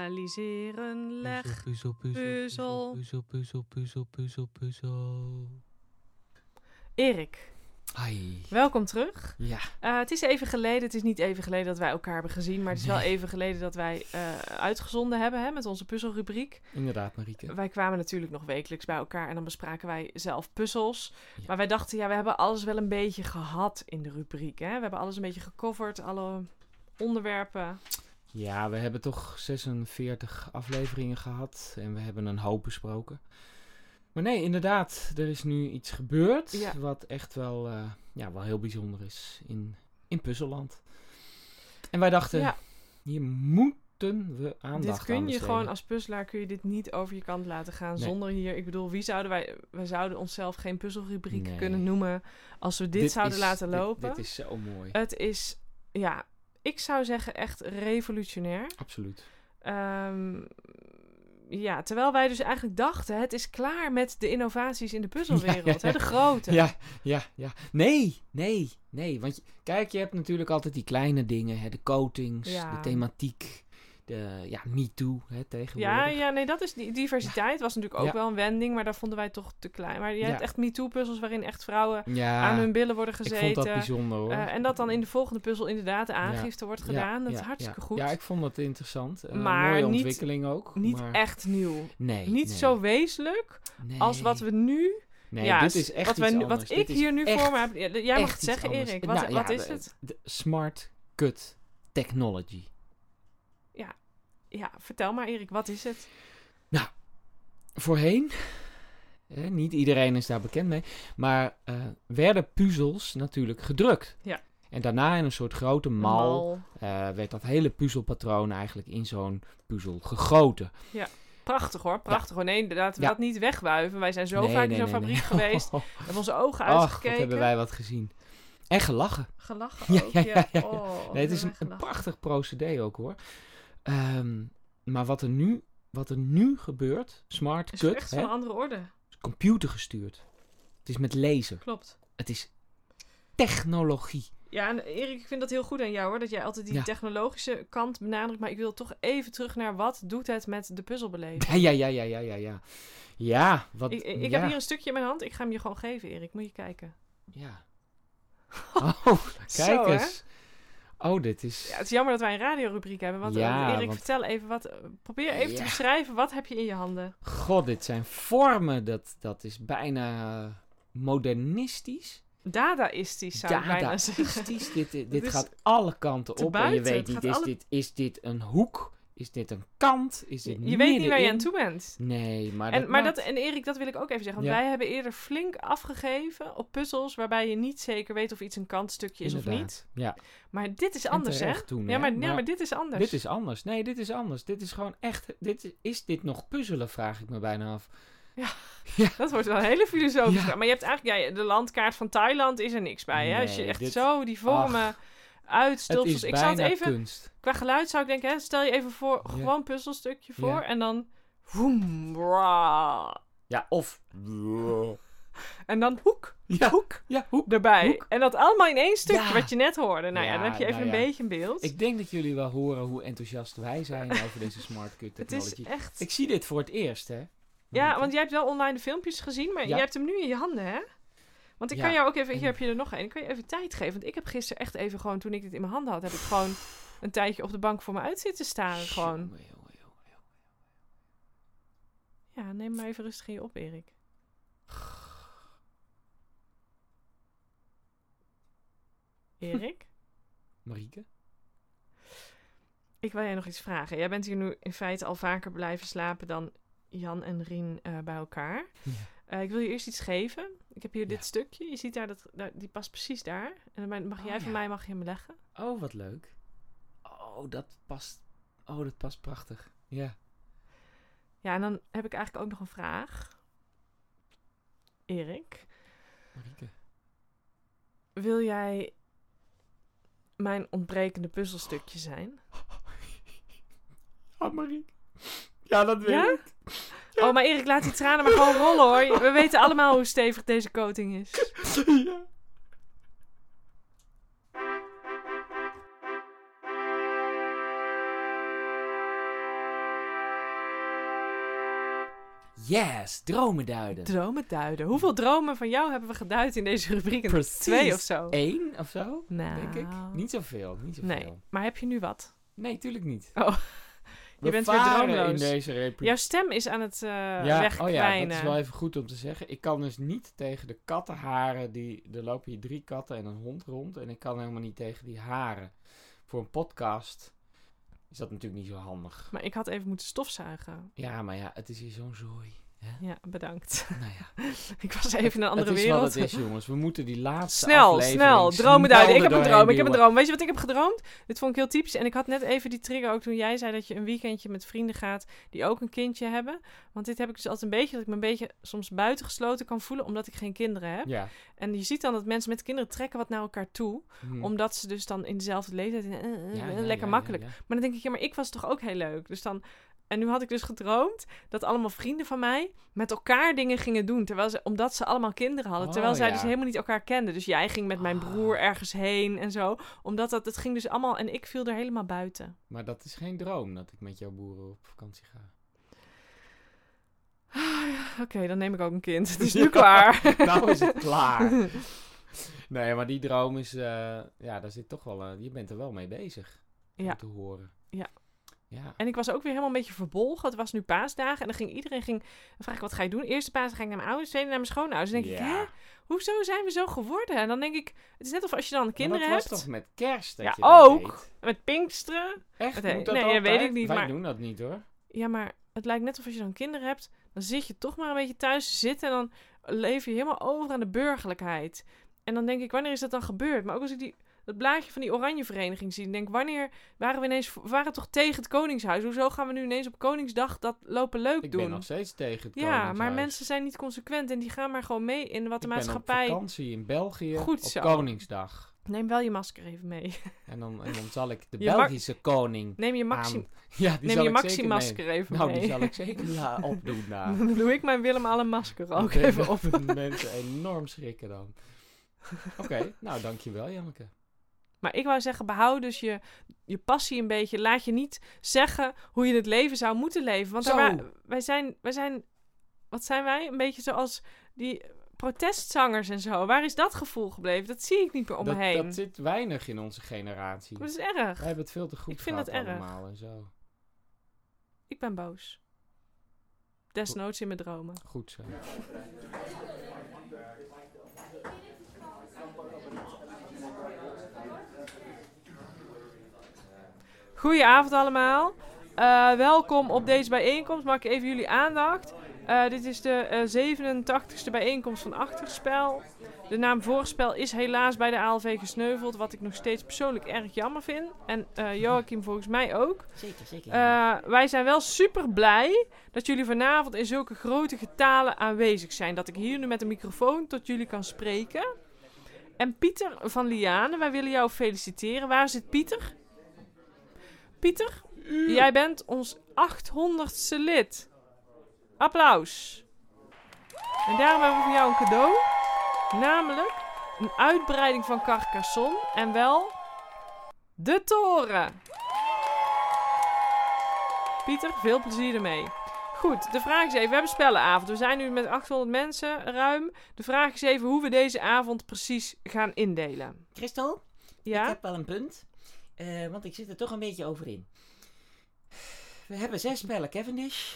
Speaker 1: Analyseren, leg.
Speaker 2: puzzel,
Speaker 1: puzzel,
Speaker 2: puzzel, puzzel, puzzel, puzzel, puzzel.
Speaker 1: Erik,
Speaker 3: Ai.
Speaker 1: Welkom terug.
Speaker 3: Ja.
Speaker 1: Eh, het is even geleden. Het is niet even geleden dat wij elkaar hebben gezien. Maar het is wel
Speaker 3: Nee.
Speaker 1: even geleden dat wij eh, uitgezonden hebben hè, met onze puzzelrubriek.
Speaker 3: Inderdaad, Marieke.
Speaker 1: Wij kwamen natuurlijk nog wekelijks bij elkaar en dan bespraken wij zelf puzzels.
Speaker 3: Ja.
Speaker 1: Maar wij dachten, ja, we hebben alles wel een beetje gehad in de rubriek. Hè? We hebben alles een beetje gecoverd, alle onderwerpen.
Speaker 3: Ja, we hebben toch 46 afleveringen gehad en we hebben een hoop besproken. Maar nee, inderdaad, er is nu iets gebeurd
Speaker 1: Ja.
Speaker 3: wat echt wel, eh, ja, wel heel bijzonder is in, in Puzzelland. En wij dachten,
Speaker 1: Ja.
Speaker 3: hier moeten we aandacht
Speaker 1: dit kun
Speaker 3: aan
Speaker 1: je
Speaker 3: besteden.
Speaker 1: gewoon als puzzelaar kun je dit niet over je kant laten gaan
Speaker 3: Nee.
Speaker 1: zonder hier. Ik bedoel, wie zouden wij, wij zouden onszelf geen puzzelrubriek
Speaker 3: Nee.
Speaker 1: kunnen noemen als we dit, zouden
Speaker 3: is-
Speaker 1: laten
Speaker 3: dit-
Speaker 1: lopen.
Speaker 3: Dit, is zo mooi.
Speaker 1: Het is, ja, ik zou zeggen echt revolutionair.
Speaker 3: Absoluut.
Speaker 1: Ehm, ja, terwijl wij dus eigenlijk dachten, het is klaar met de innovaties in de puzzelwereld,
Speaker 3: Ja, ja, ja.
Speaker 1: Hè, de grote.
Speaker 3: Ja, ja, ja. Nee, nee, nee. Want je- kijk, je hebt natuurlijk altijd die kleine dingen. Hè, de coatings,
Speaker 1: Ja.
Speaker 3: de thematiek, de ja, MeToo hè, tegenwoordig.
Speaker 1: Ja, ja, nee, dat is die diversiteit was natuurlijk ook
Speaker 3: Ja.
Speaker 1: wel een wending, maar daar vonden wij toch te klein. Maar je
Speaker 3: Ja.
Speaker 1: hebt echt MeToo-puzzels waarin echt vrouwen
Speaker 3: Ja,
Speaker 1: aan hun billen worden
Speaker 3: ik
Speaker 1: gezeten.
Speaker 3: vond dat bijzonder hoor.
Speaker 1: Eh, en dat dan in de volgende puzzel inderdaad de aangifte wordt
Speaker 3: Ja,
Speaker 1: gedaan. dat
Speaker 3: ja,
Speaker 1: is hartstikke
Speaker 3: ja.
Speaker 1: goed.
Speaker 3: Ja, ik vond dat interessant. Eh,
Speaker 1: Maar
Speaker 3: mooie
Speaker 1: niet-
Speaker 3: ontwikkeling ook.
Speaker 1: Niet
Speaker 3: maar...
Speaker 1: echt nieuw.
Speaker 3: Nee,
Speaker 1: Niet
Speaker 3: nee,
Speaker 1: zo wezenlijk
Speaker 3: nee.
Speaker 1: als wat we nu...
Speaker 3: Nee,
Speaker 1: ja,
Speaker 3: dit is echt
Speaker 1: wat, wij
Speaker 3: iets
Speaker 1: nu- wat
Speaker 3: anders.
Speaker 1: ik
Speaker 3: Dit is
Speaker 1: hier nu
Speaker 3: echt
Speaker 1: voor me heb... Ja, Jij mag
Speaker 3: echt
Speaker 1: het
Speaker 3: iets
Speaker 1: zeggen,
Speaker 3: anders.
Speaker 1: Erik. Wat,
Speaker 3: Nou, ja,
Speaker 1: wat is
Speaker 3: de-
Speaker 1: het?
Speaker 3: de smart cut technology.
Speaker 1: Ja, vertel maar Erik, wat is het?
Speaker 3: voorheen, hè, niet iedereen is daar bekend mee, maar eh, werden puzzels natuurlijk gedrukt.
Speaker 1: Ja.
Speaker 3: En daarna in een soort grote mal eh, werd dat hele puzzelpatroon eigenlijk in zo'n puzzel gegoten.
Speaker 1: Prachtig hoor, prachtig hoor. Nee, laten we
Speaker 3: Ja.
Speaker 1: dat niet wegwuiven. Wij zijn zo
Speaker 3: Nee,
Speaker 1: vaak
Speaker 3: nee,
Speaker 1: in zo'n
Speaker 3: nee,
Speaker 1: fabriek
Speaker 3: nee.
Speaker 1: geweest. We hebben onze ogen
Speaker 3: Ach,
Speaker 1: uitgekeken.
Speaker 3: wat hebben wij wat gezien. En gelachen.
Speaker 1: Gelachen
Speaker 3: Ja,
Speaker 1: ook, ja.
Speaker 3: ja, ja, ja.
Speaker 1: Oh,
Speaker 3: nee, het is een,
Speaker 1: hebben wij
Speaker 3: een
Speaker 1: gelachen.
Speaker 3: prachtig procedé ook hoor. Ehm, maar wat er, nu, wat er nu gebeurt, smart
Speaker 1: Het is
Speaker 3: cut,
Speaker 1: echt
Speaker 3: hè,
Speaker 1: van een andere orde.
Speaker 3: computer gestuurd. Het is met laser.
Speaker 1: Klopt.
Speaker 3: Het is technologie.
Speaker 1: Ja, en Erik, ik vind dat heel goed aan jou hoor. Dat jij altijd die
Speaker 3: Ja.
Speaker 1: technologische kant benadrukt. Maar ik wil toch even terug naar wat doet het met de puzzelbeleving.
Speaker 3: Ja, ja, ja, ja, ja, ja, ja. Ja, wat...
Speaker 1: Ik, ik
Speaker 3: ja,
Speaker 1: heb hier een stukje in mijn hand. Ik ga hem je gewoon geven, Erik. Moet je kijken.
Speaker 3: Ja. Oh, kijk
Speaker 1: Zo, hè?
Speaker 3: eens. Oh, dit is...
Speaker 1: Ja, het is jammer dat wij een radiorubriek hebben. Want eh,
Speaker 3: Ja,
Speaker 1: Erik,
Speaker 3: want-
Speaker 1: vertel even wat. eh, Probeer even te
Speaker 3: Ja.
Speaker 1: beschrijven. Wat heb je in je handen?
Speaker 3: God, dit zijn vormen. Dat, dat is bijna eh, modernistisch.
Speaker 1: Dadaïstisch zou ik bijna zeggen.
Speaker 3: Dadaïstisch. dit dit
Speaker 1: Dit is
Speaker 3: gaat alle kanten
Speaker 1: te
Speaker 3: op. en
Speaker 1: buiten.
Speaker 3: je weet
Speaker 1: Het
Speaker 3: niet,
Speaker 1: gaat
Speaker 3: is,
Speaker 1: alle-
Speaker 3: dit, is dit een hoek? Is dit een kant? Is dit
Speaker 1: Je, je weet niet waar je aan
Speaker 3: middenin?
Speaker 1: toe bent.
Speaker 3: Nee, maar
Speaker 1: En,
Speaker 3: dat
Speaker 1: maar
Speaker 3: maakt-
Speaker 1: dat, en Erik, dat wil ik ook even zeggen. Want
Speaker 3: Ja.
Speaker 1: wij hebben eerder flink afgegeven op puzzels waarbij je niet zeker weet of iets een kantstukje is of niet.
Speaker 3: Inderdaad, Ja,
Speaker 1: Maar dit is anders,
Speaker 3: en
Speaker 1: hè?
Speaker 3: terecht Toen,
Speaker 1: Ja
Speaker 3: hè?
Speaker 1: maar, nou, ja, maar dit is anders.
Speaker 3: Dit is anders. Nee, dit is anders. Dit is gewoon echt. Dit is, is dit nog puzzelen? Vraag ik me bijna af.
Speaker 1: Dat wordt wel een hele filosofische
Speaker 3: Ja.
Speaker 1: vraag. Maar je hebt eigenlijk, ja, de landkaart van Thailand is er niks bij. Hè? Als je
Speaker 3: Nee,
Speaker 1: echt
Speaker 3: dit-
Speaker 1: zo die vormen
Speaker 3: Ach, het is
Speaker 1: uitstulpsels. Ik
Speaker 3: bijna
Speaker 1: zal het even,
Speaker 3: kunst.
Speaker 1: qua geluid zou ik denken, hè, stel je even voor,
Speaker 3: Ja.
Speaker 1: gewoon een puzzelstukje voor.
Speaker 3: Ja.
Speaker 1: En dan, woem, bra.
Speaker 3: Ja, of.
Speaker 1: En dan hoek
Speaker 3: Ja, hoek. Ja, hoek.
Speaker 1: erbij.
Speaker 3: Hoek.
Speaker 1: En dat allemaal in één stukje,
Speaker 3: Ja.
Speaker 1: wat je net hoorde. Nou ja,
Speaker 3: Ja,
Speaker 1: dan heb je even
Speaker 3: nou
Speaker 1: een
Speaker 3: ja.
Speaker 1: beetje een beeld.
Speaker 3: Ik denk dat jullie wel horen hoe enthousiast wij zijn over deze smart cut
Speaker 1: het is
Speaker 3: technology.
Speaker 1: echt...
Speaker 3: Ik zie dit voor het eerst, hè?
Speaker 1: Ja, want jij hebt wel online de filmpjes gezien, maar
Speaker 3: Ja.
Speaker 1: je hebt hem nu in je handen, hè? Want ik
Speaker 3: Ja,
Speaker 1: kan jou ook even,
Speaker 3: en-
Speaker 1: hier heb je er nog een, ik kan je even tijd geven. Want ik heb gisteren echt even gewoon, toen ik dit in mijn handen had, heb ik gewoon een tijdje op de bank voor me uit zitten staan. Gewoon.
Speaker 3: Jongen, jongen, jongen, jongen.
Speaker 1: Ja, neem maar even rustig in je op, Erik. Erik,
Speaker 3: Marieke?
Speaker 1: ik wil jij nog iets vragen. Jij bent hier nu in feite al vaker blijven slapen dan Jan en Rien eh, bij elkaar. Eh, ik wil je eerst iets geven. Ik heb hier
Speaker 3: Ja.
Speaker 1: dit stukje. Je ziet daar, dat, daar- die past precies daar. En dan mag- mag
Speaker 3: Oh,
Speaker 1: jij van
Speaker 3: ja.
Speaker 1: mij mag je hem leggen.
Speaker 3: Oh, wat leuk. Oh, dat past. Oh, dat past prachtig. Ja.
Speaker 1: Ja, en dan heb ik eigenlijk ook nog een vraag. Erik,
Speaker 3: Marieke.
Speaker 1: wil jij mijn ontbrekende puzzelstukje zijn?
Speaker 3: Ah, Marieke. Ja, dat
Speaker 1: Ja? Oh, maar Erik, laat die tranen maar gewoon rollen hoor. We weten allemaal hoe stevig deze coating is.
Speaker 3: Ja. Yes, dromen duiden.
Speaker 1: Dromen duiden. Hoeveel dromen van jou hebben we geduid in deze rubriek?
Speaker 3: Precies.
Speaker 1: Twee of zo.
Speaker 3: Eén of zo,
Speaker 1: Nou,
Speaker 3: denk ik. Niet zoveel, niet zoveel.
Speaker 1: Nee, maar heb je nu wat?
Speaker 3: Nee, tuurlijk niet.
Speaker 1: Oh.
Speaker 3: We
Speaker 1: bent weer
Speaker 3: varen in
Speaker 1: droomloos.
Speaker 3: deze republiek.
Speaker 1: Jouw stem is aan het eh
Speaker 3: oh
Speaker 1: wegkwijnen.
Speaker 3: ja, dat is wel even goed om te zeggen. Ik kan dus niet tegen de kattenharen. Die, er lopen hier drie katten en een hond rond. En ik kan helemaal niet tegen die haren. Voor een podcast is dat natuurlijk niet zo handig.
Speaker 1: Maar ik had even moeten stofzuigen.
Speaker 3: Ja, maar ja, het is hier zo'n zooi.
Speaker 1: Ja, bedankt.
Speaker 3: Nou ja,
Speaker 1: ik was even in een andere
Speaker 3: het is
Speaker 1: wereld.
Speaker 3: wat het is, jongens. We moeten die laatste
Speaker 1: Snel,
Speaker 3: aflevering
Speaker 1: snel. Dromen duiden. Ik heb een
Speaker 3: doorheen
Speaker 1: droom. Ik heb een
Speaker 3: duwen.
Speaker 1: droom. Weet je wat ik heb gedroomd? Dit vond ik heel typisch. En ik had net even die trigger ook toen jij zei dat je een weekendje met vrienden gaat die ook een kindje hebben. Want dit heb ik dus altijd een beetje, dat ik me een beetje soms buitengesloten kan voelen omdat ik geen kinderen heb.
Speaker 3: Ja.
Speaker 1: En je ziet dan dat mensen met kinderen trekken wat naar elkaar toe.
Speaker 3: Hm.
Speaker 1: Omdat ze dus dan in dezelfde leeftijd en eh, eh, eh,
Speaker 3: Ja, ja,
Speaker 1: lekker
Speaker 3: ja,
Speaker 1: makkelijk.
Speaker 3: ja, ja.
Speaker 1: Maar dan denk ik, ja, maar ik was toch ook heel leuk. Dus dan. En nu had ik dus gedroomd dat allemaal vrienden van mij met elkaar dingen gingen doen. Terwijl ze, omdat ze allemaal kinderen hadden.
Speaker 3: Oh,
Speaker 1: terwijl zij dus
Speaker 3: ja.
Speaker 1: helemaal niet elkaar kenden. Dus jij ging met mijn
Speaker 3: Ah.
Speaker 1: broer ergens heen en zo. Omdat dat, het ging dus allemaal. En ik viel er helemaal buiten.
Speaker 3: Maar dat is geen droom dat ik met jouw boeren op vakantie ga. Ah,
Speaker 1: Oké, dan neem ik ook een kind. Het is nu klaar.
Speaker 3: nou is het klaar. Nee, maar die droom is, eh, ja, daar zit toch wel, eh, je bent er wel mee bezig. Ja.
Speaker 1: Ja.
Speaker 3: Om te horen.
Speaker 1: Ja.
Speaker 3: Ja.
Speaker 1: En ik was ook weer helemaal een beetje verbolgen. Het was nu paasdagen. En dan ging iedereen ging, dan vraag ik, wat ga je doen? Eerste paasdag ga ik naar mijn ouders, tweede naar mijn schoonouders. Dan Dus denk
Speaker 3: Ja.
Speaker 1: ik, hè? Hoezo zijn we zo geworden? En dan denk ik, het is net of als je dan kinderen
Speaker 3: Maar dat
Speaker 1: hebt.
Speaker 3: was toch met kerst dat
Speaker 1: Ja,
Speaker 3: je dat
Speaker 1: ook.
Speaker 3: deed?
Speaker 1: Met Pinksteren.
Speaker 3: Echt?
Speaker 1: Nee,
Speaker 3: Moet dat
Speaker 1: nee, dat weet
Speaker 3: altijd?
Speaker 1: ik niet,
Speaker 3: Wij
Speaker 1: maar-
Speaker 3: doen dat niet hoor.
Speaker 1: Ja, maar het lijkt net of als je dan kinderen hebt, dan zit je toch maar een beetje thuis te zitten. En dan leef je helemaal over aan de burgerlijkheid. En dan denk ik, wanneer is dat dan gebeurd? Maar ook als ik die, dat blaadje van die oranje vereniging zie, dan denk ik, wanneer waren we ineens, we waren toch tegen het Koningshuis? Hoezo gaan we nu ineens op Koningsdag dat lopen leuk
Speaker 3: Ik
Speaker 1: doen?
Speaker 3: ben nog steeds tegen het
Speaker 1: Ja, maar
Speaker 3: Koningshuis.
Speaker 1: mensen zijn niet consequent en die gaan maar gewoon mee in wat de
Speaker 3: Ik ben
Speaker 1: maatschappij.
Speaker 3: op vakantie in België
Speaker 1: Goed
Speaker 3: op
Speaker 1: zo.
Speaker 3: Koningsdag.
Speaker 1: Neem wel je masker even mee.
Speaker 3: En dan, en dan zal ik de
Speaker 1: Je mag-
Speaker 3: Belgische koning
Speaker 1: Neem je maxi,
Speaker 3: aan... Ja, die
Speaker 1: neem
Speaker 3: zal
Speaker 1: je
Speaker 3: ik
Speaker 1: maxi
Speaker 3: zeker
Speaker 1: masker even
Speaker 3: nemen. Nou,
Speaker 1: mee.
Speaker 3: die zal ik zeker ja, opdoen daar.
Speaker 1: Dan doe ik mijn Willem Allen masker ook
Speaker 3: Oké,
Speaker 1: even op.
Speaker 3: dat mensen enorm schrikken dan. Oké, nou dankjewel Janneke.
Speaker 1: Maar ik wou zeggen, behoud dus je, je passie een beetje. Laat je niet zeggen hoe je het leven zou moeten leven. Want
Speaker 3: Zo.
Speaker 1: daar wa- wij, zijn, wij zijn, wat zijn wij? Een beetje zoals die protestzangers en zo. Waar is dat gevoel gebleven? Dat zie ik niet meer om
Speaker 3: dat,
Speaker 1: me heen.
Speaker 3: dat zit weinig in onze generatie.
Speaker 1: Dat
Speaker 3: We
Speaker 1: is erg.
Speaker 3: hebben het veel te goed
Speaker 1: Ik vind
Speaker 3: gehad
Speaker 1: het erg.
Speaker 3: allemaal en zo.
Speaker 1: Ik ben boos. Desnoods in mijn dromen.
Speaker 3: Goed zo.
Speaker 1: Goedenavond allemaal. Eh, welkom op deze bijeenkomst. Mag ik even jullie aandacht? Eh, dit is de eh, 87ste bijeenkomst van Achterspel. De naam Voorspel is helaas bij de ALV gesneuveld, wat ik nog steeds persoonlijk erg jammer vind. En eh, Joachim volgens mij ook.
Speaker 2: Zeker, zeker.
Speaker 1: Eh, wij zijn wel super blij dat jullie vanavond in zulke grote getalen aanwezig zijn. Dat ik hier nu met een microfoon tot jullie kan spreken. En Pieter van Liane, wij willen jou feliciteren. Waar zit Pieter? Pieter, jij bent ons 800ste lid. Applaus. En daarom hebben we voor jou een cadeau. Namelijk een uitbreiding van Carcassonne en wel de toren. Pieter, veel plezier ermee. Goed, de vraag is even, we hebben spellenavond. We zijn nu met 800 mensen ruim. De vraag is even hoe we deze avond precies gaan indelen.
Speaker 2: Christel, ik
Speaker 1: Ja?
Speaker 2: heb wel een punt. eh, want ik zit er toch een beetje over in. We hebben zes spellen Cavendish.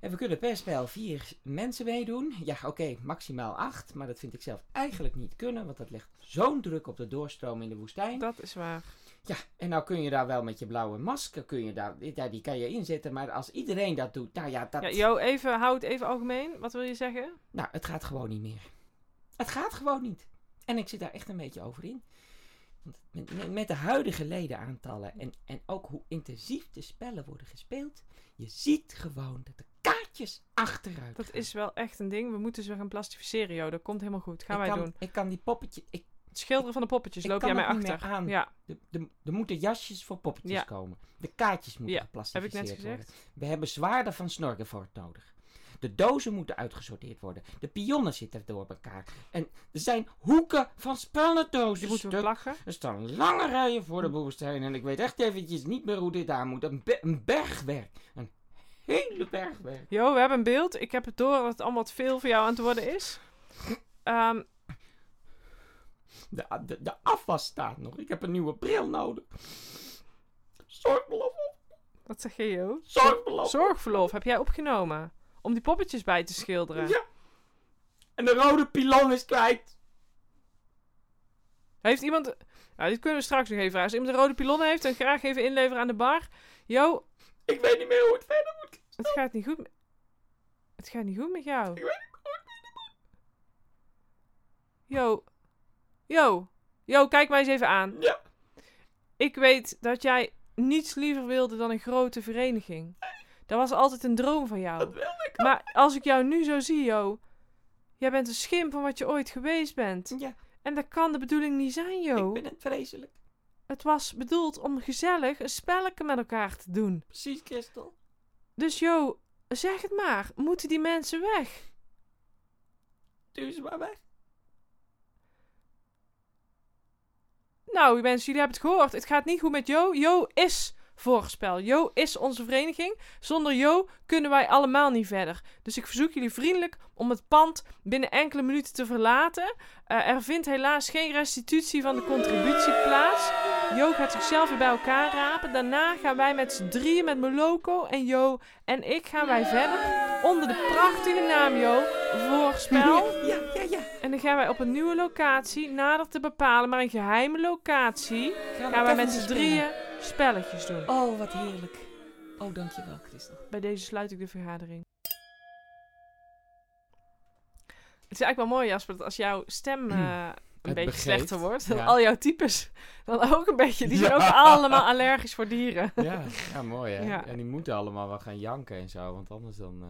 Speaker 2: en we kunnen per spel vier mensen meedoen. Ja, oké, maximaal acht. Maar dat vind ik zelf eigenlijk niet kunnen. Want dat legt zo'n druk op de doorstroom in de woestijn.
Speaker 1: Dat is waar.
Speaker 2: Ja, en nou kun je daar wel met je blauwe masker, kun je daar, ja, die kan je inzetten. Maar als iedereen dat doet, nou ja, dat...
Speaker 1: Ja, Jo, even, houd even algemeen. Wat wil je zeggen?
Speaker 2: Nou, het gaat gewoon niet meer. Het gaat gewoon niet. En ik zit daar echt een beetje over in. Want met- met, met de huidige ledenaantallen en, en ook hoe intensief de spellen worden gespeeld, je ziet gewoon dat de kaartjes achteruit
Speaker 1: Dat
Speaker 2: gaan.
Speaker 1: is wel echt een ding. We moeten ze gaan plastificeren, Jo. Dat komt helemaal goed. Gaan
Speaker 2: ik
Speaker 1: wij
Speaker 2: kan,
Speaker 1: doen.
Speaker 2: Ik kan die poppetje, ik,
Speaker 1: Het schilderen van de poppetjes.
Speaker 2: ik
Speaker 1: Loop
Speaker 2: kan
Speaker 1: jij mij
Speaker 2: het niet
Speaker 1: achter?
Speaker 2: meer aan.
Speaker 1: Ja,
Speaker 2: de, de, er moeten jasjes voor poppetjes
Speaker 1: Ja.
Speaker 2: komen. De kaartjes moeten
Speaker 1: Ja, heb ik
Speaker 2: geplastificeerd
Speaker 1: net
Speaker 2: worden.
Speaker 1: gezegd.
Speaker 2: We hebben zwaarden van Snorkenvoort nodig. De dozen moeten uitgesorteerd worden. De pionnen zitten door elkaar. En er zijn hoeken van spellendozen.
Speaker 1: Die moeten we
Speaker 2: stuk.
Speaker 1: plakken.
Speaker 2: Er staan lange
Speaker 1: Hm.
Speaker 2: rijen voor de boerstijn en ik weet echt eventjes niet meer hoe dit aan moet. Een, be- een bergwerk. Een
Speaker 3: hele berg weg.
Speaker 1: Jo, we hebben een beeld. Ik heb het door dat het allemaal wat veel voor jou aan het worden is. Ehm,
Speaker 3: De, de, de afwas staat nog. Ik heb een nieuwe bril nodig. Zorgbelof,
Speaker 1: wat zeg je, Jo?
Speaker 3: zorgbelof.
Speaker 1: Zorgverlof heb jij opgenomen. Om die poppetjes bij te schilderen.
Speaker 3: Ja. En de rode pilon is kwijt.
Speaker 1: Heeft iemand... Nou, dit kunnen we straks nog even vragen. Als iemand een rode pilon heeft, dan graag even inleveren aan de bar. Jo,
Speaker 3: Ik weet niet meer hoe het verder moet.
Speaker 1: het gaat niet goed. met- Het gaat niet goed met jou.
Speaker 3: Ik weet niet meer hoe het
Speaker 1: Jo. Jo. Jo, kijk mij eens even aan.
Speaker 3: Ja.
Speaker 1: Ik weet dat jij niets liever wilde dan een grote vereniging. Dat was altijd een droom van jou.
Speaker 3: Dat wilde ik.
Speaker 1: Maar als ik jou nu zo zie, Jo. Jij bent een schim van wat je ooit geweest bent.
Speaker 3: Ja,
Speaker 1: En dat kan de bedoeling niet zijn, Jo.
Speaker 3: ik vind het vreselijk.
Speaker 1: Het was bedoeld om gezellig een spelletje met elkaar te doen.
Speaker 3: Precies, Christel.
Speaker 1: Dus Jo, zeg het maar. Moeten die mensen weg?
Speaker 3: Duw ze maar weg.
Speaker 1: Nou, mensen, jullie hebben het gehoord. Het gaat niet goed met Jo. Jo is voorspel. Jo is onze vereniging. Zonder Jo kunnen wij allemaal niet verder. Dus ik verzoek jullie vriendelijk om het pand binnen enkele minuten te verlaten. Eh, er vindt helaas geen restitutie van de contributie plaats. Jo gaat zichzelf weer bij elkaar rapen. Daarna gaan wij met z'n drieën, met Moloko en Jo en ik, gaan wij verder. Onder de prachtige naam, Jo, voorspel.
Speaker 3: Ja, ja, ja.
Speaker 1: En dan gaan wij op een nieuwe locatie, nader te bepalen, maar een geheime locatie, gaan wij met z'n drieën spelletjes doen.
Speaker 3: Oh, wat heerlijk. Oh, dankjewel, Christel.
Speaker 1: Bij deze sluit ik de vergadering. Het is eigenlijk wel mooi, Jasper, dat als jouw stem eh, een
Speaker 3: Het
Speaker 1: beetje
Speaker 3: begeeft,
Speaker 1: slechter wordt, dat
Speaker 3: ja.
Speaker 1: al jouw types dan ook een beetje, die zijn
Speaker 3: Ja.
Speaker 1: ook allemaal allergisch voor dieren.
Speaker 3: Ja, ja mooi hè.
Speaker 1: Ja.
Speaker 3: En die moeten allemaal wel gaan janken en zo, want anders dan... eh,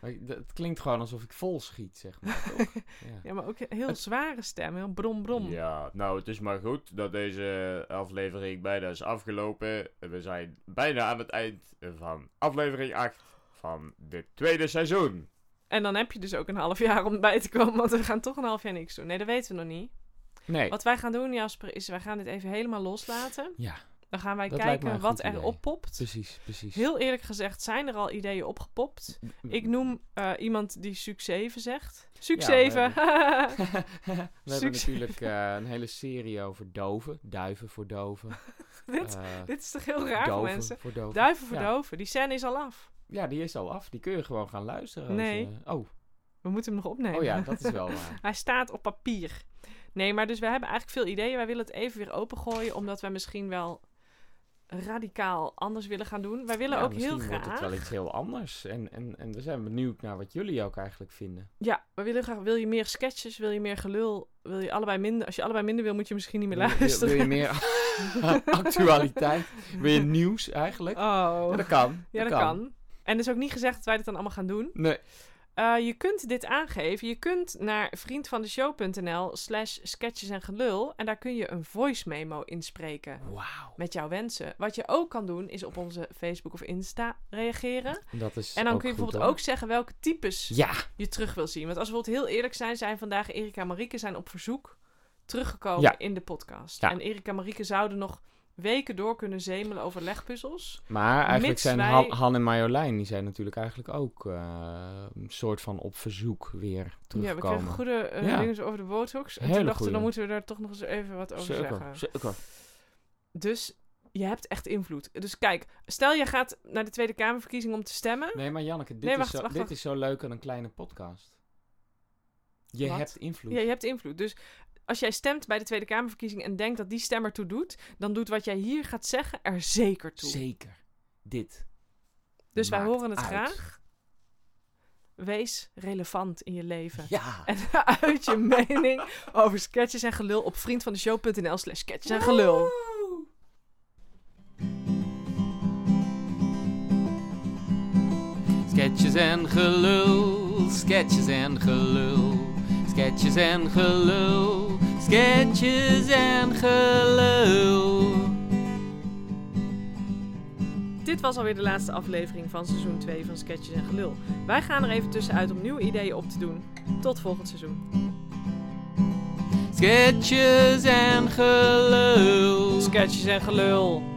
Speaker 3: maar ik- d- Het klinkt gewoon alsof ik vol schiet, zeg maar. toch? Ja.
Speaker 1: Ja, maar ook een heel zware stem, heel brom brom.
Speaker 6: Ja, nou het is maar goed dat deze aflevering bijna is afgelopen. We zijn bijna aan het eind van aflevering 8 van dit tweede seizoen.
Speaker 1: En dan heb je dus ook een half jaar om bij te komen, want we gaan toch een half jaar niks doen. Nee, dat weten we nog niet.
Speaker 3: Nee,
Speaker 1: Wat wij gaan doen, Jasper, is wij gaan dit even helemaal loslaten.
Speaker 3: Ja.
Speaker 1: Dan gaan wij
Speaker 3: Dat lijkt me
Speaker 1: kijken
Speaker 3: een
Speaker 1: wat
Speaker 3: goed
Speaker 1: er
Speaker 3: idee.
Speaker 1: oppopt.
Speaker 3: precies, precies.
Speaker 1: Heel eerlijk gezegd zijn er al ideeën opgepopt.
Speaker 3: Mm.
Speaker 1: Ik noem eh, iemand die Suc 7 zegt. Suc
Speaker 3: Ja,
Speaker 1: 7!
Speaker 3: we we hebben
Speaker 1: Succes.
Speaker 3: natuurlijk eh, een hele serie over doven. Duiven voor doven.
Speaker 1: dit,
Speaker 3: eh,
Speaker 1: dit is toch heel raar voor
Speaker 3: doven
Speaker 1: mensen?
Speaker 3: Voor doven.
Speaker 1: Duiven voor
Speaker 3: Ja.
Speaker 1: doven. Die scène is al af.
Speaker 3: Ja, die is al af. Die kun je gewoon gaan luisteren. als
Speaker 1: Nee.
Speaker 3: je- oh,
Speaker 1: We moeten hem nog opnemen.
Speaker 3: oh ja, dat is wel waar.
Speaker 1: Hij staat op papier. Nee, maar dus we hebben eigenlijk veel ideeën. Wij willen het even weer opengooien, omdat wij misschien wel radicaal anders willen gaan doen. Wij willen
Speaker 3: Ja,
Speaker 1: ook heel
Speaker 3: misschien wordt het
Speaker 1: graag...
Speaker 3: wel iets heel anders. En, en, en we zijn benieuwd naar wat jullie ook eigenlijk vinden.
Speaker 1: Ja, we willen graag. Wil je meer sketches? Wil je meer gelul? Wil je allebei minder? Als je allebei minder wil, moet je misschien niet meer
Speaker 3: Wil je- Wil,
Speaker 1: luisteren.
Speaker 3: wil je meer actualiteit? Wil je nieuws eigenlijk? Ja,
Speaker 1: Oh.
Speaker 3: dat kan.
Speaker 1: Ja, dat kan. En het is ook niet gezegd dat wij dit dan allemaal gaan doen.
Speaker 3: Nee.
Speaker 1: Eh, je kunt dit aangeven. Je kunt naar vriendvandeshow.nl slash sketches en gelul. En daar kun je een voice memo inspreken.
Speaker 3: Wauw.
Speaker 1: Met jouw wensen. Wat je ook kan doen, is op onze Facebook of Insta reageren.
Speaker 3: Dat is
Speaker 1: En dan
Speaker 3: ook
Speaker 1: kun je
Speaker 3: goed,
Speaker 1: bijvoorbeeld
Speaker 3: hoor.
Speaker 1: ook zeggen welke types
Speaker 3: Ja,
Speaker 1: je terug wil zien. Want als we bijvoorbeeld heel eerlijk zijn, zijn vandaag Erika en Marieke zijn op verzoek teruggekomen
Speaker 3: Ja.
Speaker 1: in de podcast.
Speaker 3: Ja.
Speaker 1: En Erika en Marieke zouden nog weken door kunnen zemelen over legpuzzels.
Speaker 3: maar eigenlijk
Speaker 1: Mits
Speaker 3: zijn
Speaker 1: wij-
Speaker 3: Han, Han en Marjolein, die zijn natuurlijk eigenlijk ook eh, een soort van op verzoek
Speaker 1: Ja,
Speaker 3: weer
Speaker 1: we
Speaker 3: terugkomen.
Speaker 1: kregen goede eh,
Speaker 3: Ja.
Speaker 1: dingen over de botox. En
Speaker 3: Hele
Speaker 1: toen dachten we,
Speaker 3: goeie.
Speaker 1: dan moeten we daar toch nog eens even wat over
Speaker 3: Zeker,
Speaker 1: zeggen.
Speaker 3: zeker.
Speaker 1: Dus je hebt echt invloed. Dus kijk, stel je gaat naar de Tweede Kamerverkiezing om te stemmen.
Speaker 3: Nee, maar Janneke, dit,
Speaker 1: Nee, wacht,
Speaker 3: is, zo,
Speaker 1: wacht,
Speaker 3: dit
Speaker 1: wacht.
Speaker 3: is zo leuk aan een kleine podcast. Je
Speaker 1: Wat?
Speaker 3: hebt invloed.
Speaker 1: Ja, je hebt invloed. Dus als jij stemt bij de Tweede Kamerverkiezing en denkt dat die stem ertoe doet, dan doet wat jij hier gaat zeggen er zeker toe.
Speaker 3: Zeker. Dit.
Speaker 1: Dus wij
Speaker 3: maakt
Speaker 1: horen het
Speaker 3: uit.
Speaker 1: graag. Wees relevant in je leven.
Speaker 3: Ja.
Speaker 1: En uit je mening over sketches en gelul op vriendvandeshow.nl slash sketches en gelul.
Speaker 7: Sketches en gelul, sketches en gelul, sketches en gelul, sketches en gelul.
Speaker 1: Dit was alweer de laatste aflevering van seizoen 2 van Sketches en Gelul. Wij gaan er even tussenuit om nieuwe ideeën op te doen. Tot volgend seizoen.
Speaker 7: Sketches en gelul.
Speaker 1: Sketches en Gelul.